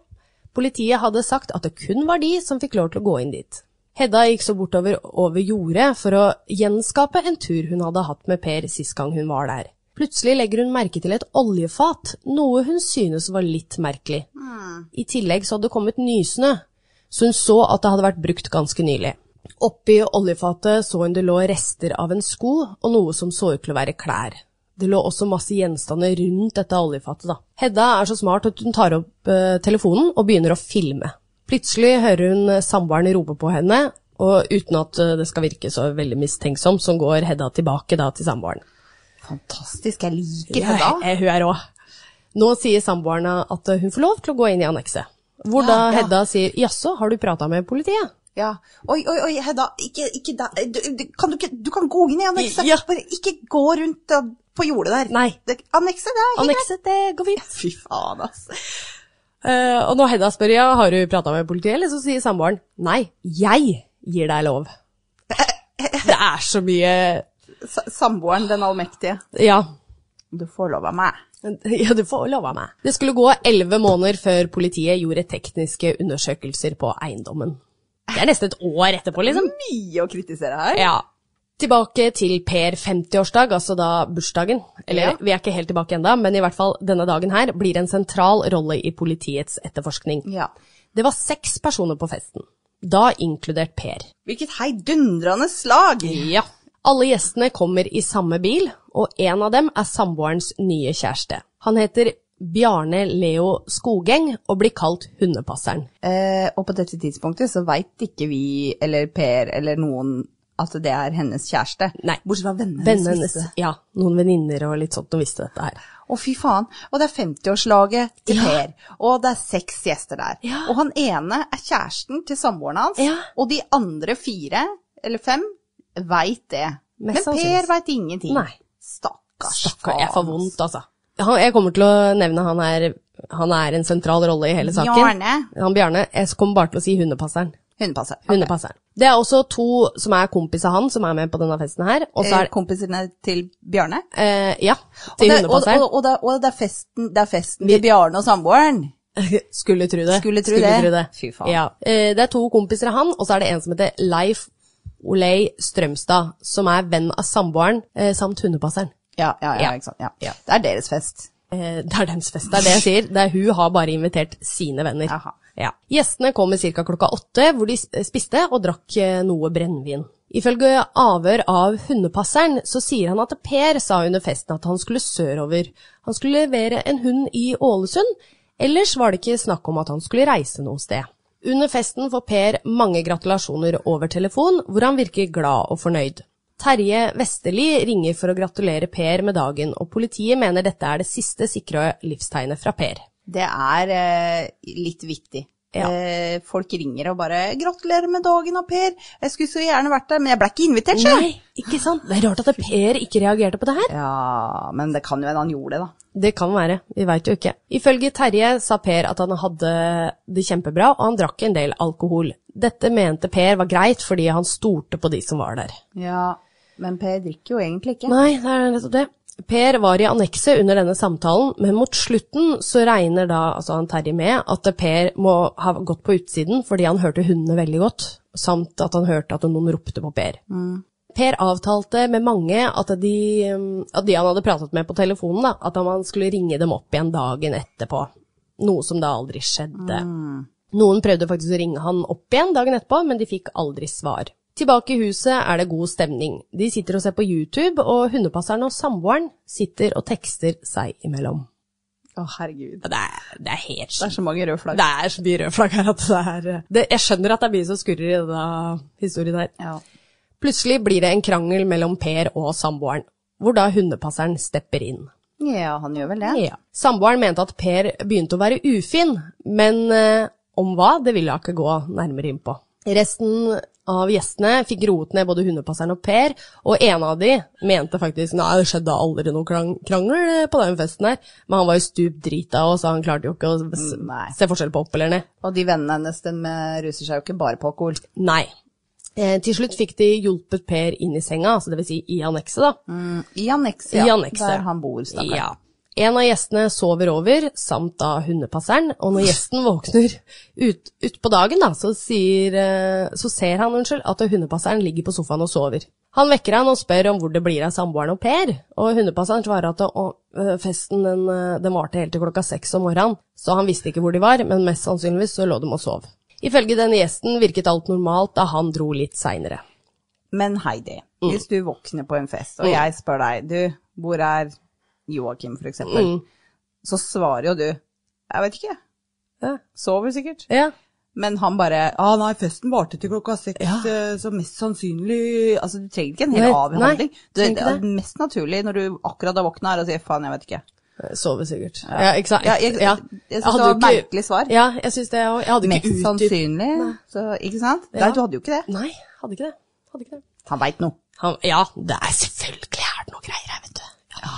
Speaker 1: Politiet hadde sagt at det kun var de som fikk lov til å gå inn dit. Hedda gikk så bortover over jordet for å gjenskape en tur hun hadde hatt med Per sist gang hun var der. Plutselig legger hun merke til et oljefat, noe hun synes var litt merkelig. I tillegg så hadde det kommet nysnø, så hun så at det hadde vært brukt ganske nylig. Oppi oljefatet så hun det lå rester av en sko og noe som så ut til å være klær. Det lå også masse gjenstander rundt dette oljefatet, da. Hedda er så smart at hun tar opp eh, telefonen og begynner å filme. Plutselig hører hun eh, samboeren rope på henne, og uten at eh, det skal virke så veldig mistenksom, så går Hedda tilbake da til samboeren.
Speaker 2: Fantastisk, jeg liker
Speaker 1: Ja,
Speaker 2: Hedda.
Speaker 1: eh, hun er rå. Nå sier samboerne at eh, hun får lov til å gå inn i annekset. Hvor da
Speaker 2: Ja, ja.
Speaker 1: Hedda sier 'jaså, har du prata med politiet'?
Speaker 2: Ja. Oi, oi, oi, Hedda. Ikke, ikke da. Du, du, kan du, ikke, du kan gå inn i annekset.
Speaker 1: Ja.
Speaker 2: Bare ikke gå rundt uh, på jordet der.
Speaker 1: Nei.
Speaker 2: Det- Annekset, det er helt
Speaker 1: Annekset, det går fint.
Speaker 2: greit. Fy faen, ass.
Speaker 1: Eh, og når Hedda spør ja, har du prata med politiet, eller så sier samboeren nei, jeg gir deg lov. Det er så mye
Speaker 2: Sa- Samboeren, den allmektige.
Speaker 1: Ja.
Speaker 2: Du får lov av meg.
Speaker 1: Ja, du får lov av meg. Det skulle gå elleve måneder før politiet gjorde tekniske undersøkelser på eiendommen. Det er nesten et år etterpå, liksom.
Speaker 2: Mye å kritisere her.
Speaker 1: Ja. Tilbake til Per 50-årsdag, altså da bursdagen. Eller
Speaker 2: Ja.
Speaker 1: vi er ikke helt tilbake enda, men i hvert fall denne dagen her blir en sentral rolle i politiets etterforskning.
Speaker 2: Ja.
Speaker 1: Det var seks personer på festen, da inkludert Per.
Speaker 2: Hvilket heidundrende slag!
Speaker 1: Ja. Alle gjestene kommer i samme bil, og en av dem er samboerens nye kjæreste. Han heter Bjarne Leo Skogeng og blir kalt hundepasseren.
Speaker 2: Eh, og på dette tidspunktet så veit ikke vi eller Per eller noen at det er hennes kjæreste.
Speaker 1: Nei.
Speaker 2: Bortsett fra vennene hennes.
Speaker 1: Vennene hennes,
Speaker 2: visste det.
Speaker 1: ja, noen venninner og litt sånt, og visste dette her.
Speaker 2: Å, fy faen. Og det er 50-årslaget til
Speaker 1: Ja.
Speaker 2: Per, og det er seks gjester der.
Speaker 1: Ja.
Speaker 2: Og han ene er kjæresten til samboeren hans,
Speaker 1: Ja.
Speaker 2: og de andre fire, eller fem, veit det.
Speaker 1: Mest
Speaker 2: Men
Speaker 1: sannsynlig.
Speaker 2: Per veit ingenting.
Speaker 1: Nei.
Speaker 2: Stakkars
Speaker 1: Stakkar, jeg får
Speaker 2: faen.
Speaker 1: vondt, altså. Han, jeg kommer til å nevne han er, han er en sentral rolle i hele saken.
Speaker 2: Bjarne.
Speaker 1: Han Bjarne. Jeg kommer bare til å si hundepasseren.
Speaker 2: Hundepasser. Ok.
Speaker 1: Hundepasseren. Det er også to som er kompis av han, som er med på denne festen her. Og så
Speaker 2: Eh,
Speaker 1: er
Speaker 2: Kompisene til Bjarne.
Speaker 1: eh, Ja,
Speaker 2: Og
Speaker 1: til
Speaker 2: det, og,
Speaker 1: hundepasseren.
Speaker 2: og, og, det, og det er festen, det er festen til Bjarne og samboeren.
Speaker 1: Skulle tro det.
Speaker 2: Skulle tro det. Fy faen.
Speaker 1: Ja. Eh, Det er to kompiser av han, og så er det en som heter Leif Olei Strømstad, som er venn av samboeren eh, samt hundepasseren.
Speaker 2: Ja, ja, ja,
Speaker 1: Ja.
Speaker 2: ikke sant. Ja.
Speaker 1: Ja.
Speaker 2: Det er deres fest.
Speaker 1: Eh, Det er deres fest, det er det jeg sier. Det er hun har bare invitert sine venner.
Speaker 2: Aha.
Speaker 1: Ja. Gjestene kom ca. klokka åtte, hvor de sp- spiste og drakk eh, noe brennevin. Ifølge avhør av hundepasseren så sier han at Per sa under festen at han skulle sørover. Han skulle levere en hund i Ålesund, ellers var det ikke snakk om at han skulle reise noe sted. Under festen får Per mange gratulasjoner over telefon, hvor han virker glad og fornøyd. Terje Vesterli ringer for å gratulere Per med dagen, og politiet mener dette er det siste sikre livstegnet fra Per.
Speaker 2: Det er eh, litt vittig.
Speaker 1: Ja.
Speaker 2: Eh, folk ringer og bare 'Gratulerer med dagen, da, Per. Jeg skulle så gjerne vært der, men jeg ble ikke invitert, sjø'.
Speaker 1: Nei, ikke sant? Det er rart at Per ikke reagerte på det her.
Speaker 2: Ja, men det kan jo hende han gjorde det, da.
Speaker 1: Det kan være, vi veit jo ikke. Ifølge Terje sa Per at han hadde det kjempebra, og han drakk en del alkohol. Dette mente Per var greit fordi han stolte på de som var der.
Speaker 2: Ja, men Per drikker jo egentlig ikke.
Speaker 1: Nei, det er nettopp det. Per var i annekset under denne samtalen, men mot slutten så regner da altså han Terje med at Per må ha gått på utsiden fordi han hørte hundene veldig godt, samt at han hørte at noen ropte på Per. Per avtalte med mange at de, um, at de han hadde pratet med på telefonen, da, at han skulle ringe dem opp igjen dagen etterpå. Noe som da aldri skjedde. Noen prøvde faktisk å ringe han opp igjen dagen etterpå, men de fikk aldri svar. Tilbake i huset er det god stemning. De sitter og ser på YouTube, og hundepasseren og samboeren sitter og tekster seg imellom.
Speaker 2: Å, herregud.
Speaker 1: Det er, det er helt
Speaker 2: Det er så mange røde flagg.
Speaker 1: Det er så mye røde flagg her at det er eh, det, Jeg skjønner at det er mye som skurrer i denne historien her.
Speaker 2: Ja.
Speaker 1: Plutselig blir det en krangel mellom Per og samboeren, hvor da hundepasseren stepper inn.
Speaker 2: ja, han gjør vel det.
Speaker 1: Ja. Samboeren mente at Per begynte å være ufin, men eh, om hva, det ville hun ikke gå nærmere inn på. Resten av gjestene fikk roet ned både hundepasseren og Per, og en av de mente faktisk nei, det skjedde aldri noe klang- krangel eh, på den festen her, men han var jo stup drita og så han klarte jo ikke å s-
Speaker 2: Nei.
Speaker 1: se forskjell på opp eller ned.
Speaker 2: Og de vennene hennes de eh, ruser seg jo ikke bare på alkohol.
Speaker 1: Nei. Eh, til slutt fikk de hjulpet Per inn i senga, altså det vil si i annekset da.
Speaker 2: Mm, I annekset,
Speaker 1: I
Speaker 2: ja.
Speaker 1: annekset.
Speaker 2: Der han bor, stakkar.
Speaker 1: Ja. En av gjestene sover over, samt da hundepasseren, og når gjesten våkner ut, ut på dagen, da, så, sier, eh, så ser han unnskyld, at hundepasseren ligger på sofaen og sover. Han vekker han og spør om hvor det blir av samboeren og Per, og hundepasseren svarer at å, eh, festen den, eh, den varte helt til klokka seks om morgenen, så han visste ikke hvor de var, men mest sannsynligvis så lå de og sov. Ifølge denne gjesten virket alt normalt da han dro litt seinere.
Speaker 2: Men Heidi,
Speaker 1: Mm.
Speaker 2: hvis du våkner på en fest, og jeg spør deg, du, hvor er Joakim for eksempel?
Speaker 1: Mm.
Speaker 2: Så svarer jo du, jeg vet ikke,
Speaker 1: Ja.
Speaker 2: sover sikkert.
Speaker 1: Ja.
Speaker 2: Men han bare, ah nei, festen varte til klokka seks, eh, så mest sannsynlig, altså du trenger ikke en hel
Speaker 1: Nei,
Speaker 2: avhandling.
Speaker 1: nei,
Speaker 2: Det,
Speaker 1: trenger
Speaker 2: det
Speaker 1: ikke
Speaker 2: er mest naturlig når du akkurat har våknet her og sier, faen, jeg vet ikke.
Speaker 1: Sover sikkert. Ja, ikke sant?
Speaker 2: Ja, jeg-
Speaker 1: Ja.
Speaker 2: jeg synes
Speaker 1: hadde
Speaker 2: det var
Speaker 1: jo ikke-
Speaker 2: merkelig svar.
Speaker 1: Ja, jeg syns det òg. Jeg hadde
Speaker 2: Mest
Speaker 1: ikke utdypet
Speaker 2: sannsynlig, så, ikke sant?
Speaker 1: Ja.
Speaker 2: Nei, du hadde jo ikke det.
Speaker 1: Nei, hadde ikke det. Hadde ikke det.
Speaker 2: Han vet noe.
Speaker 1: Han, ja, det er selvfølgelig er det noe greier her, vet du.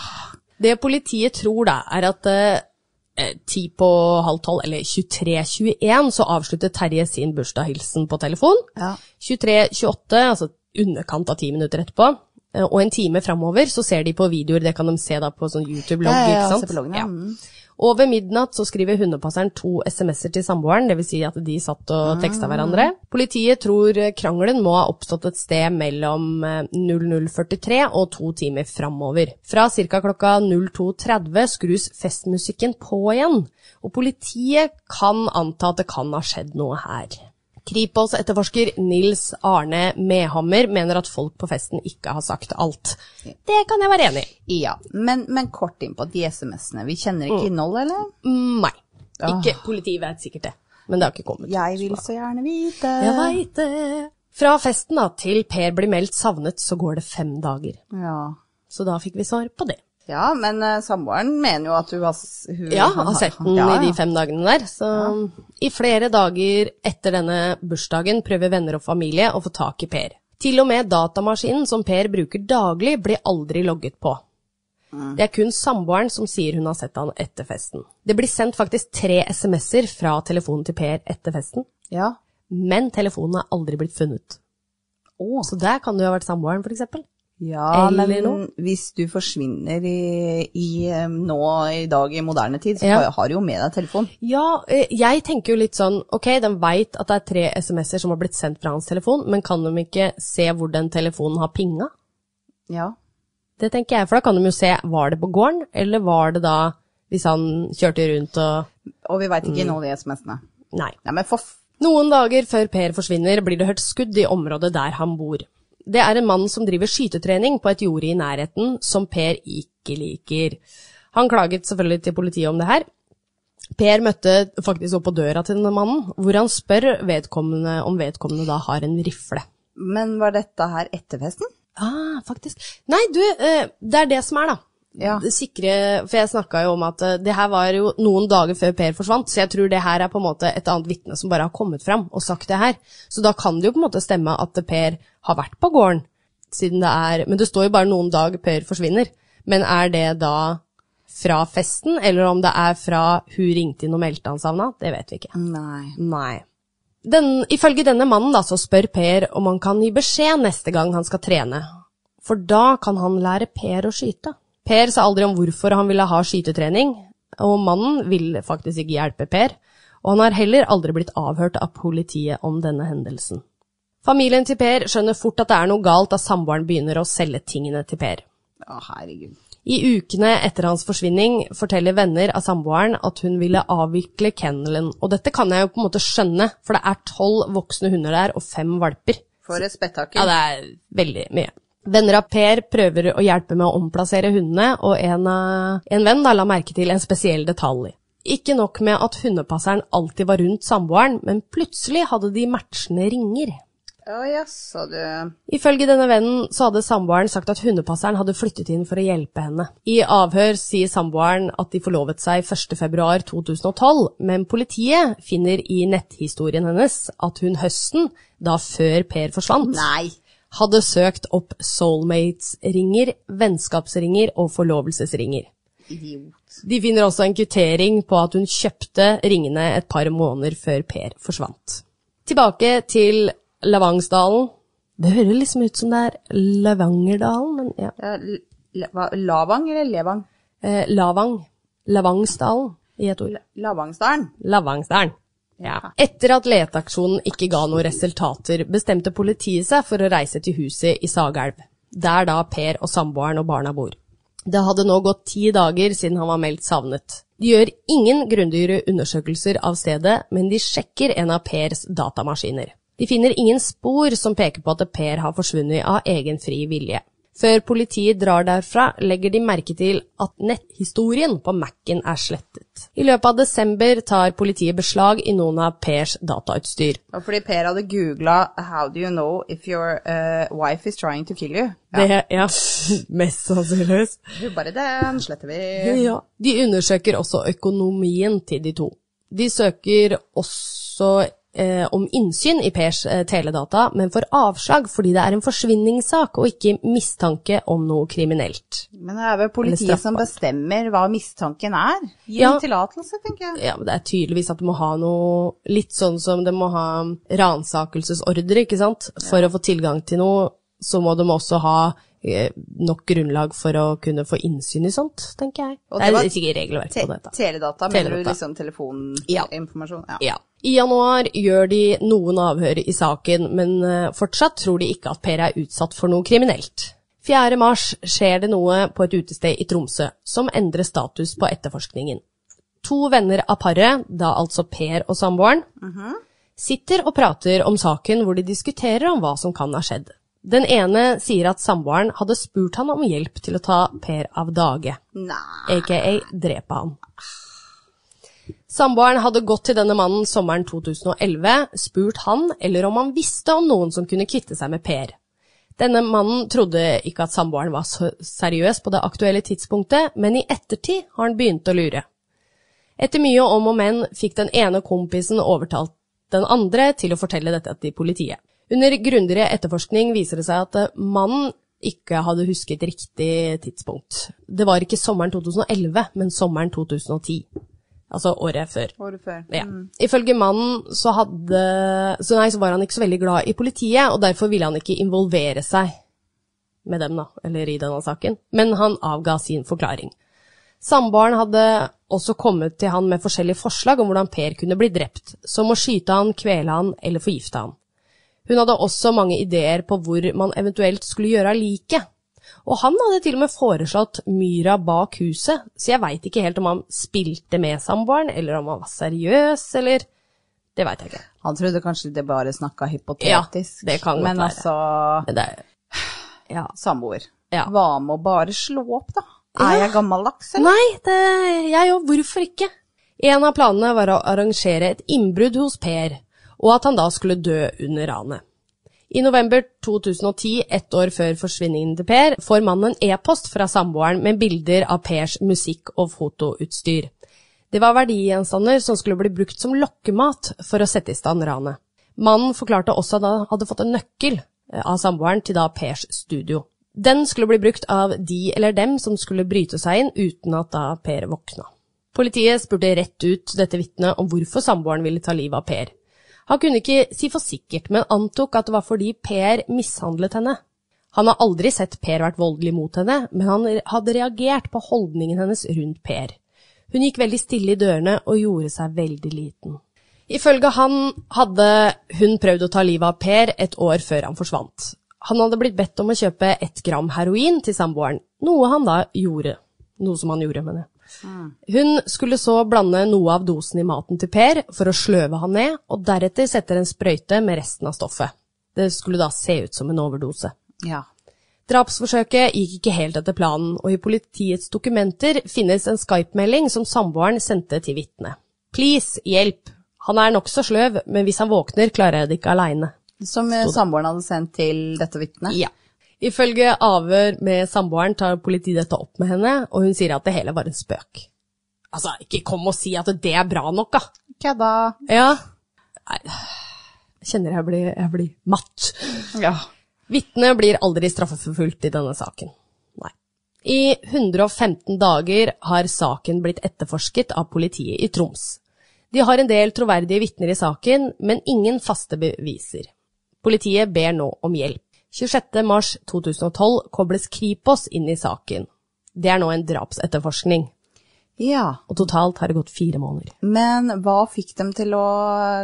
Speaker 1: Det politiet tror da, er at eh, ti på halv tolv, eller 23.21, så avslutter Terje sin bursdagshilsen på telefon.
Speaker 2: Ja.
Speaker 1: 23.28, altså underkant av ti minutter etterpå, eh, og en time framover, så ser de på videoer, det kan de se da på sånn YouTube-logg,
Speaker 2: Ja, ja, ja,
Speaker 1: ikke sant?
Speaker 2: se på loggen, ja. Mm.
Speaker 1: Over midnatt så skriver hundepasseren to SMS-er til samboeren, dvs. Si at de satt og teksta hverandre. Politiet tror eh, krangelen må ha oppstått et sted mellom eh, 00.43 og to timer framover. Fra ca. klokka 02.30 skrus festmusikken på igjen, og politiet kan anta at det kan ha skjedd noe her. Kripos-etterforsker Nils Arne Mehammer mener at folk på festen ikke har sagt alt. Det kan jeg være enig i.
Speaker 2: Ja, men, men kort inn på de SMS-ene. Vi kjenner ikke innholdet, eller?
Speaker 1: Mm, Nei. Ikke politiet vet sikkert det, men det har ikke kommet.
Speaker 2: Ah. Jeg vil så gjerne vite.
Speaker 1: Jeg veit det. Fra festen da, til Per blir meldt savnet, så går det fem dager.
Speaker 2: Ja.
Speaker 1: Så da fikk vi svar på det.
Speaker 2: ja, men eh, samboeren mener jo at hun har s- hun,
Speaker 1: Ja,
Speaker 2: han
Speaker 1: har sett den
Speaker 2: ja,
Speaker 1: i de
Speaker 2: ja.
Speaker 1: fem dagene der. Så i flere dager etter denne bursdagen prøver venner og familie å få tak i Per. Til og med datamaskinen som Per bruker daglig, blir aldri logget på.
Speaker 2: Mm.
Speaker 1: Det er kun samboeren som sier hun har sett han etter festen. Det blir sendt faktisk tre SMS-er fra telefonen til Per etter festen,
Speaker 2: Ja.
Speaker 1: men telefonen er aldri blitt funnet.
Speaker 2: Å.
Speaker 1: Så der kan det jo ha vært samboeren, for eksempel.
Speaker 2: Ja,
Speaker 1: Eller
Speaker 2: men
Speaker 1: noe.
Speaker 2: hvis du forsvinner i, i, eh, nå i dag i moderne tid, så
Speaker 1: Ja.
Speaker 2: har- har du jo med deg telefon.
Speaker 1: Ja, eh, jeg tenker jo litt sånn, ok, den veit at det er tre SMS-er som har blitt sendt fra hans telefon, men kan de ikke se hvor den telefonen har pinga?
Speaker 2: Ja.
Speaker 1: Det tenker jeg, for da kan de jo se, var det på gården, eller var det da hvis han kjørte rundt og
Speaker 2: Og vi veit
Speaker 1: Mm.
Speaker 2: ikke innholdet i SMS-ene.
Speaker 1: Nei.
Speaker 2: Nei, men for f...
Speaker 1: Noen dager før Per forsvinner, blir det hørt skudd i området der han bor. Det er en mann som driver skytetrening på et jorde i nærheten, som Per ikke liker. Han klaget selvfølgelig til politiet om det her. Per møtte faktisk opp på døra til denne mannen, hvor han spør vedkommende om vedkommende da har en rifle.
Speaker 2: Men var dette her etter festen?
Speaker 1: Ah, faktisk. Nei, du, eh, det er det som er, da.
Speaker 2: Ja.
Speaker 1: Det sikre, for jeg snakka jo om at eh, det her var jo noen dager før Per forsvant, så jeg tror det her er på en måte et annet vitne som bare har kommet fram og sagt det her. Så da kan det jo på en måte stemme at Per har vært på gården, siden det er Men det står jo bare noen dag Per forsvinner. Men er det da fra festen, eller om det er fra hun ringte inn og meldte han savna, det vet vi ikke.
Speaker 2: Nei.
Speaker 1: Nei. Den, ifølge denne mannen da, så spør Per om han kan gi beskjed neste gang han skal trene. For da kan han lære Per å skyte. Per sa aldri om hvorfor han ville ha skytetrening, og mannen vil faktisk ikke hjelpe Per. Og han har heller aldri blitt avhørt av politiet om denne hendelsen. Familien til Per skjønner fort at det er noe galt da samboeren begynner å selge tingene til Per.
Speaker 2: Å, herregud.
Speaker 1: I ukene etter hans forsvinning forteller venner av samboeren at hun ville avvikle kennelen, og dette kan jeg jo på en måte skjønne, for det er tolv voksne hunder der og fem valper.
Speaker 2: For et
Speaker 1: Ja,
Speaker 2: spetakkel.
Speaker 1: det er veldig mye. Venner av Per prøver å hjelpe med å omplassere hundene, og en, av- en venn da la merke til en spesiell detalj. Ikke nok med at hundepasseren alltid var rundt samboeren, men plutselig hadde de matchende ringer.
Speaker 2: Å, jaså, du.
Speaker 1: Ifølge denne vennen så hadde samboeren sagt at hundepasseren hadde flyttet inn for å hjelpe henne. I avhør sier samboeren at de forlovet seg 1.2.2012, men politiet finner i netthistorien hennes at hun høsten, da før Per forsvant,
Speaker 2: Nei.
Speaker 1: hadde søkt opp soulmates-ringer, vennskapsringer og forlovelsesringer.
Speaker 2: Idiot.
Speaker 1: De finner også en kvittering på at hun kjøpte ringene et par måneder før Per forsvant. Tilbake til Lavangsdalen. Det høres liksom ut som det er Lavangerdalen, men ja.
Speaker 2: Ja, l- la- hva- Lavang eller Levang?
Speaker 1: Eh, Lavang. Lavangsdalen i et ord.
Speaker 2: Lavangsdalen.
Speaker 1: Lavangsdalen. Ja. Etter at leteaksjonen ikke ga noen resultater, bestemte politiet seg for å reise til huset i Sagelv, der da Per og samboeren og barna bor. Det hadde nå gått ti dager siden han var meldt savnet. De gjør ingen grundigere undersøkelser av stedet, men de sjekker en av Pers datamaskiner. De finner ingen spor som peker på at Per har forsvunnet av egen fri vilje. Før politiet drar derfra, legger de merke til at netthistorien på Mac-en er slettet. I løpet av desember tar politiet beslag i noen av Pers datautstyr.
Speaker 2: Og fordi Per hadde googla 'How do you know if your eh, wife is trying to kill you?' Ja,
Speaker 1: Det, ja, mest sannsynligvis.
Speaker 2: hun bare den sletter vi.
Speaker 1: Ja. De undersøker også økonomien til de to. De søker også eh, om innsyn i Pers eh, teledata, men får avslag fordi det er en forsvinningssak og ikke mistanke om noe kriminelt.
Speaker 2: Men det er vel politiet som bestemmer hva mistanken er. Gi
Speaker 1: Ja.
Speaker 2: en tillatelse, tenker jeg.
Speaker 1: Ja, men det er tydeligvis at du må ha noe litt sånn som det må ha ransakelsesordre, ikke sant? For å få tilgang til noe, så må de også ha eh, nok grunnlag for å kunne få innsyn i sånt, tenker jeg.
Speaker 2: Og
Speaker 1: det,
Speaker 2: det var
Speaker 1: er sikkert regelverk
Speaker 2: Te
Speaker 1: på dette.
Speaker 2: teledata, mener du
Speaker 1: Teledata.
Speaker 2: liksom
Speaker 1: Ja.
Speaker 2: telefoninformasjon? Ja.
Speaker 1: Ja. I januar gjør de noen avhør i saken, men eh, fortsatt tror de ikke at Per er utsatt for noe kriminelt. 4. mars skjer det noe på et utested i Tromsø som endrer status på etterforskningen. To venner av paret, da altså Per og samboeren, sitter og prater om saken hvor de diskuterer om hva som kan ha skjedd. Den ene sier at samboeren hadde spurt han om hjelp til å ta Per av dage,
Speaker 2: Nei.
Speaker 1: aka drepe han. Samboeren hadde gått til denne mannen sommeren 2011, spurt han eller om han visste om noen som kunne kvitte seg med Per. Denne mannen trodde ikke at samboeren var så seriøs på det aktuelle tidspunktet, men i ettertid har han begynt å lure. Etter mye om og men fikk den ene kompisen overtalt den andre til å fortelle dette til politiet. Under grundigere etterforskning viser det seg at eh, mannen ikke hadde husket riktig tidspunkt. Det var ikke sommeren 2011, men sommeren 2010. Altså året før.
Speaker 2: Året før.
Speaker 1: Ja. Mm. Ifølge mannen så, hadde, så, nei, så var han ikke så veldig glad i politiet, og derfor ville han ikke involvere seg med dem, da, eller i denne saken. Men han avga sin forklaring. Samboeren hadde også kommet til han med forskjellige forslag om hvordan Per kunne bli drept, som å skyte han, kvele han eller forgifte han. Hun hadde også mange ideer på hvor man eventuelt skulle gjøre av liket. Og han hadde til og med foreslått myra bak huset, så jeg veit ikke helt om han spilte med samboeren, eller om han var seriøs, eller Det veit jeg ikke.
Speaker 2: Han trodde kanskje det bare snakka hypotetisk.
Speaker 1: Ja, det kan godt
Speaker 2: Men
Speaker 1: være.
Speaker 2: altså,
Speaker 1: Men det er Ja.
Speaker 2: samboer,
Speaker 1: Ja.
Speaker 2: hva med å bare slå opp, da? Er jeg gammeldags, eller?
Speaker 1: Nei, det, jeg òg. Hvorfor ikke? En av planene var å arrangere et innbrudd hos Per, og at han da skulle dø under ranet. I november 2010, ett år før forsvinningen til Per, får mannen en e-post fra samboeren med bilder av Pers musikk- og fotoutstyr. Det var verdigjenstander som skulle bli brukt som lokkemat for å sette i stand ranet. Mannen forklarte også at han hadde fått en nøkkel eh, av samboeren til da Pers studio. Den skulle bli brukt av de eller dem som skulle bryte seg inn uten at da Per våkna. Politiet spurte rett ut dette vitnet om hvorfor samboeren ville ta livet av Per. Han kunne ikke si for sikkert, men antok at det var fordi Per mishandlet henne. Han har aldri sett Per vært voldelig mot henne, men han hadde reagert på holdningen hennes rundt Per. Hun gikk veldig stille i dørene og gjorde seg veldig liten. Ifølge han hadde hun prøvd å ta livet av Per et år før han forsvant. Han hadde blitt bedt om å kjøpe ett gram heroin til samboeren, noe han da gjorde. Noe som han gjorde, mener jeg. Hun skulle så blande noe av dosen i maten til Per for å sløve han ned, og deretter sette en sprøyte med resten av stoffet. Det skulle da se ut som en overdose.
Speaker 2: Ja.
Speaker 1: Drapsforsøket gikk ikke helt etter planen, og i politiets dokumenter finnes en Skype-melding som samboeren sendte til vitnet. Please, hjelp. Han er nokså sløv, men hvis han våkner, klarer jeg det ikke aleine.
Speaker 2: Som eh, samboeren hadde sendt til dette vitnet?
Speaker 1: Ja. Ifølge avhør med samboeren tar politiet dette opp med henne, og hun sier at det hele var en spøk. Altså, ikke kom og si at det er bra nok, da.
Speaker 2: Kødda.
Speaker 1: Ja. Nei. Jeg Kjenner jeg blir, jeg blir matt.
Speaker 2: Ja.
Speaker 1: Vitnet blir aldri straffeforfulgt i denne saken. Nei. I 115 dager har saken blitt etterforsket av politiet i Troms. De har en del troverdige vitner i saken, men ingen faste beviser. Politiet ber nå om hjelp. 26. mars 2012 kobles Kripos inn i saken. Det er nå en drapsetterforskning,
Speaker 2: ja.
Speaker 1: og totalt har det gått fire måneder.
Speaker 2: Men hva fikk dem til å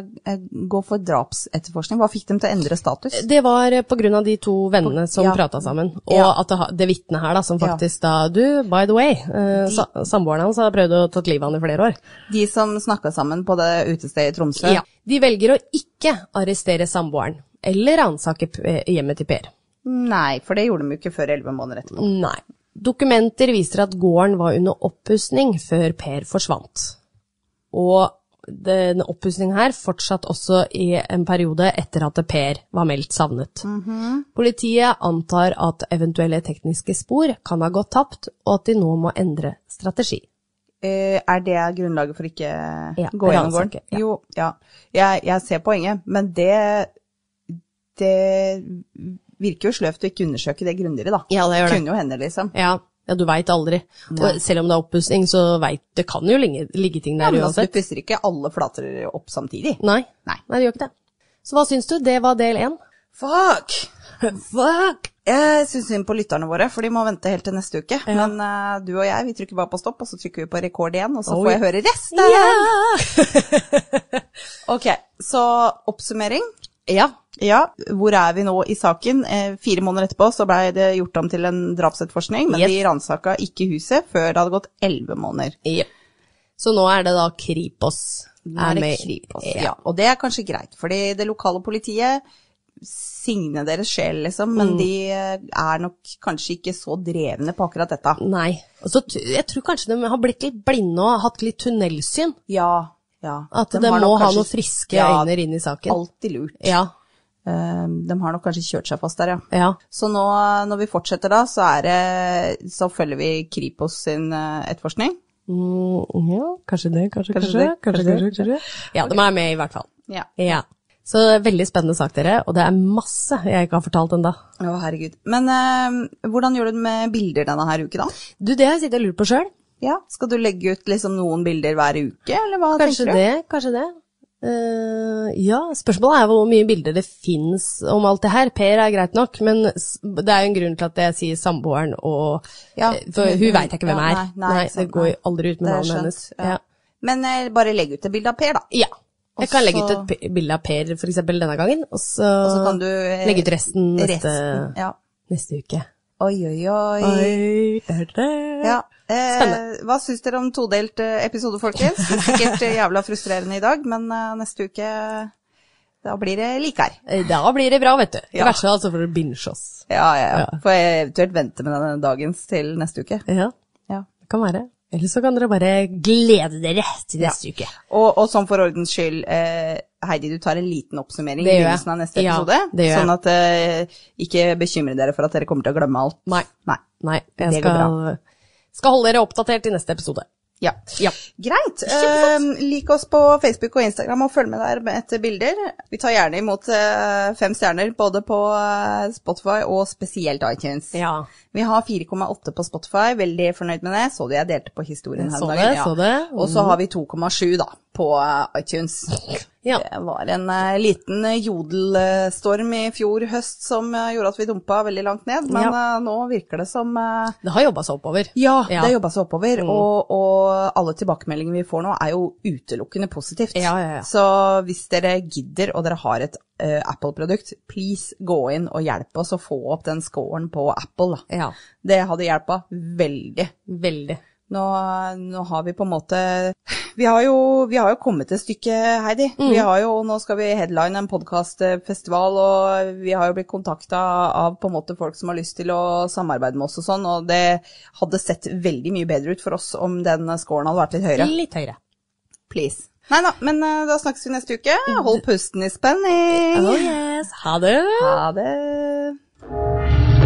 Speaker 2: eh, gå for drapsetterforskning? Hva fikk dem til å endre status?
Speaker 1: Det var på grunn av de to vennene som
Speaker 2: Ja.
Speaker 1: pratet prata sammen, og
Speaker 2: Ja.
Speaker 1: at det, ha- det vitnet her da, som
Speaker 2: Ja.
Speaker 1: faktisk da Du, by the way, eh, sa, samboeren hans har prøvd å ta livet av han i flere år.
Speaker 2: De som snakka sammen på det utestedet i Tromsø?
Speaker 1: Ja. De velger å ikke arrestere samboeren, eller ransake p- eh, hjemmet til Per.
Speaker 2: Nei, for det gjorde de jo ikke før elleve måneder etterpå.
Speaker 1: Nei. Dokumenter viser at gården var under oppussing før Per forsvant. Og denne oppussingen her fortsatte også i en periode etter at Per var meldt savnet.
Speaker 2: Mhm.
Speaker 1: Politiet antar at eventuelle tekniske spor kan ha gått tapt, og at de nå må endre strategi.
Speaker 2: Eh, er det grunnlaget for ikke
Speaker 1: Ja,
Speaker 2: gå gjennom gården?
Speaker 1: ransake, ja.
Speaker 2: Jo, ja. Jeg, jeg ser poenget, men det Det virker jo sløvt å ikke undersøke det grundigere, da.
Speaker 1: Ja, det gjør det.
Speaker 2: Kunne jo hende, liksom.
Speaker 1: Ja, ja du veit aldri. Og selv om det er oppussing, så veit Det kan jo ligge, ligge ting der
Speaker 2: Men altså,
Speaker 1: uansett.
Speaker 2: du pusser ikke alle flater opp samtidig.
Speaker 1: Nei.
Speaker 2: Nei.
Speaker 1: Nei, det gjør ikke det. Så hva syns du? Det var del én.
Speaker 2: Fuck! Fuck! Jeg syns synd på lytterne våre, for de må vente helt til neste uke. Men eh, du og jeg, vi trykker bare på stopp, og så trykker vi på rekord igjen, og så
Speaker 1: Oi.
Speaker 2: får jeg høre resten! Ok, så oppsummering.
Speaker 1: ja.
Speaker 2: Ja, hvor er vi nå i saken? Eh, fire måneder etterpå så blei det gjort om til en drapsetterforskning, men
Speaker 1: Yes.
Speaker 2: de ransaka ikke huset før det hadde gått elleve måneder.
Speaker 1: Ja. Så nå er det da Kripos.
Speaker 2: Nå er det
Speaker 1: med-
Speaker 2: krig på oss.
Speaker 1: ja.
Speaker 2: Ja, og det er kanskje greit, fordi det lokale politiet signer deres sjel, liksom, men de er nok kanskje ikke så drevne på akkurat dette.
Speaker 1: Nei. Og så t- jeg tror kanskje de har blitt litt blinde og hatt litt tunnelsyn.
Speaker 2: Ja, ja.
Speaker 1: At de,
Speaker 2: har
Speaker 1: må
Speaker 2: nok
Speaker 1: ha
Speaker 2: kanskje-
Speaker 1: noen friske
Speaker 2: Ja,
Speaker 1: øyne inn i saken.
Speaker 2: Alltid lurt.
Speaker 1: Ja,
Speaker 2: Ehm, De har nok kanskje kjørt seg fast der, ja.
Speaker 1: ja.
Speaker 2: Så nå, når vi fortsetter da, så, er det, så følger vi Kripos sin eh, etterforskning.
Speaker 1: Mm, ja, kanskje det, kanskje, kanskje.
Speaker 2: Kanskje det,
Speaker 1: kanskje,
Speaker 2: kanskje
Speaker 1: kanskje, kanskje. Ja, de er med i hvert fall.
Speaker 2: Ja.
Speaker 1: Ja. Så veldig spennende sak, dere. Og det er masse jeg ikke har fortalt ennå.
Speaker 2: Å, herregud. Men eh, hvordan gjør du det med bilder denne her uke, da?
Speaker 1: Du, det har jeg sittet og lurt på sjøl.
Speaker 2: Ja, Skal du legge ut liksom noen bilder hver uke, eller hva
Speaker 1: Kanskje
Speaker 2: tenker du?
Speaker 1: det, kanskje det. Eh, ja, spørsmålet er hvor mye bilder det fins om alt det her. Per er greit nok, men s- det er jo en grunn til at jeg sier samboeren og
Speaker 2: Ja,
Speaker 1: eh, For hun veit jeg ikke hvem
Speaker 2: ja,
Speaker 1: er.
Speaker 2: nei, nei, ikke
Speaker 1: det
Speaker 2: sant,
Speaker 1: går
Speaker 2: nei.
Speaker 1: jo aldri ut med
Speaker 2: Det er
Speaker 1: navnet
Speaker 2: skjønt,
Speaker 1: hennes.
Speaker 2: ja.
Speaker 1: Ja.
Speaker 2: Men eh, bare legg ut et bilde av Per, da.
Speaker 1: ja. Jeg
Speaker 2: Og
Speaker 1: kan legge ut
Speaker 2: så-
Speaker 1: et p- bilde av Per for eksempel denne gangen, og så,
Speaker 2: Og så kan du eh,
Speaker 1: legge ut resten neste,
Speaker 2: resten, Ja.
Speaker 1: neste uke.
Speaker 2: Oi, oi, oi.
Speaker 1: Oi, der,
Speaker 2: Ja. Eh,
Speaker 1: Spennende.
Speaker 2: Hva syns dere om todelt eh, episode, folkens? Sikkert eh, jævla frustrerende i dag, men eh, neste uke da blir det like her.
Speaker 1: Eh, Da blir det bra, vet du. I
Speaker 2: Ja.
Speaker 1: verste fall så får du binge oss.
Speaker 2: Ja, ja, ja.
Speaker 1: Ja.
Speaker 2: Får jeg eventuelt vente med denne dagens til neste uke.
Speaker 1: Ja,
Speaker 2: Ja.
Speaker 1: det kan være. Eller så kan dere bare glede dere til neste uke.
Speaker 2: Og, og sånn for ordens skyld, eh, Heidi, du tar en liten oppsummering i
Speaker 1: Det gjør jeg.
Speaker 2: begynnelsen av neste
Speaker 1: Ja,
Speaker 2: episode.
Speaker 1: det gjør jeg.
Speaker 2: sånn at eh, ikke bekymre dere for at dere kommer til å glemme alt.
Speaker 1: Nei.
Speaker 2: Nei.
Speaker 1: Nei, jeg
Speaker 2: Det går
Speaker 1: skal, skal holde dere oppdatert i neste episode.
Speaker 2: Ja.
Speaker 1: Ja.
Speaker 2: Greit. Eh, lik oss på Facebook og Instagram og følg med der med etter bilder. Vi tar gjerne imot eh, fem stjerner både på eh, Spotify og spesielt iTunes.
Speaker 1: ja.
Speaker 2: Vi har 4,8 på Spotify, veldig fornøyd med det. Så du jeg delte på historien her
Speaker 1: Så
Speaker 2: om
Speaker 1: det,
Speaker 2: dagen?
Speaker 1: så det. Mm.
Speaker 2: Og så har vi 2,7 da, på eh, iTunes.
Speaker 1: Ja.
Speaker 2: Det var en eh, liten eh, jodelstorm i fjor høst som eh, gjorde at vi dumpa veldig langt ned, men eh, nå virker det som eh,
Speaker 1: Det har jobba seg oppover.
Speaker 2: ja,
Speaker 1: Ja. Mm.
Speaker 2: det jobba seg oppover, og, og alle tilbakemeldingene vi får nå er jo utelukkende positivt.
Speaker 1: Ja, ja, ja.
Speaker 2: Så hvis dere gidder og dere har et eh, Apple-produkt, please gå inn og hjelpe oss å få opp den scoren på Apple. Da.
Speaker 1: Ja,
Speaker 2: Det hadde hjelpa veldig.
Speaker 1: veldig.
Speaker 2: Nå, nå har vi på en måte Vi har jo, vi har jo kommet et stykke, Heidi. Vi har jo, nå skal vi headline en podkastfestival, og vi har jo blitt kontakta av på en måte folk som har lyst til å samarbeide med oss og sånn, og det hadde sett veldig mye bedre ut for oss om den scoren hadde vært litt høyere.
Speaker 1: Litt høyere.
Speaker 2: Please. Nei da, men eh, da snakkes vi neste uke. Hold pusten i spenning.
Speaker 1: Oh yes, ha det!
Speaker 2: Ha det.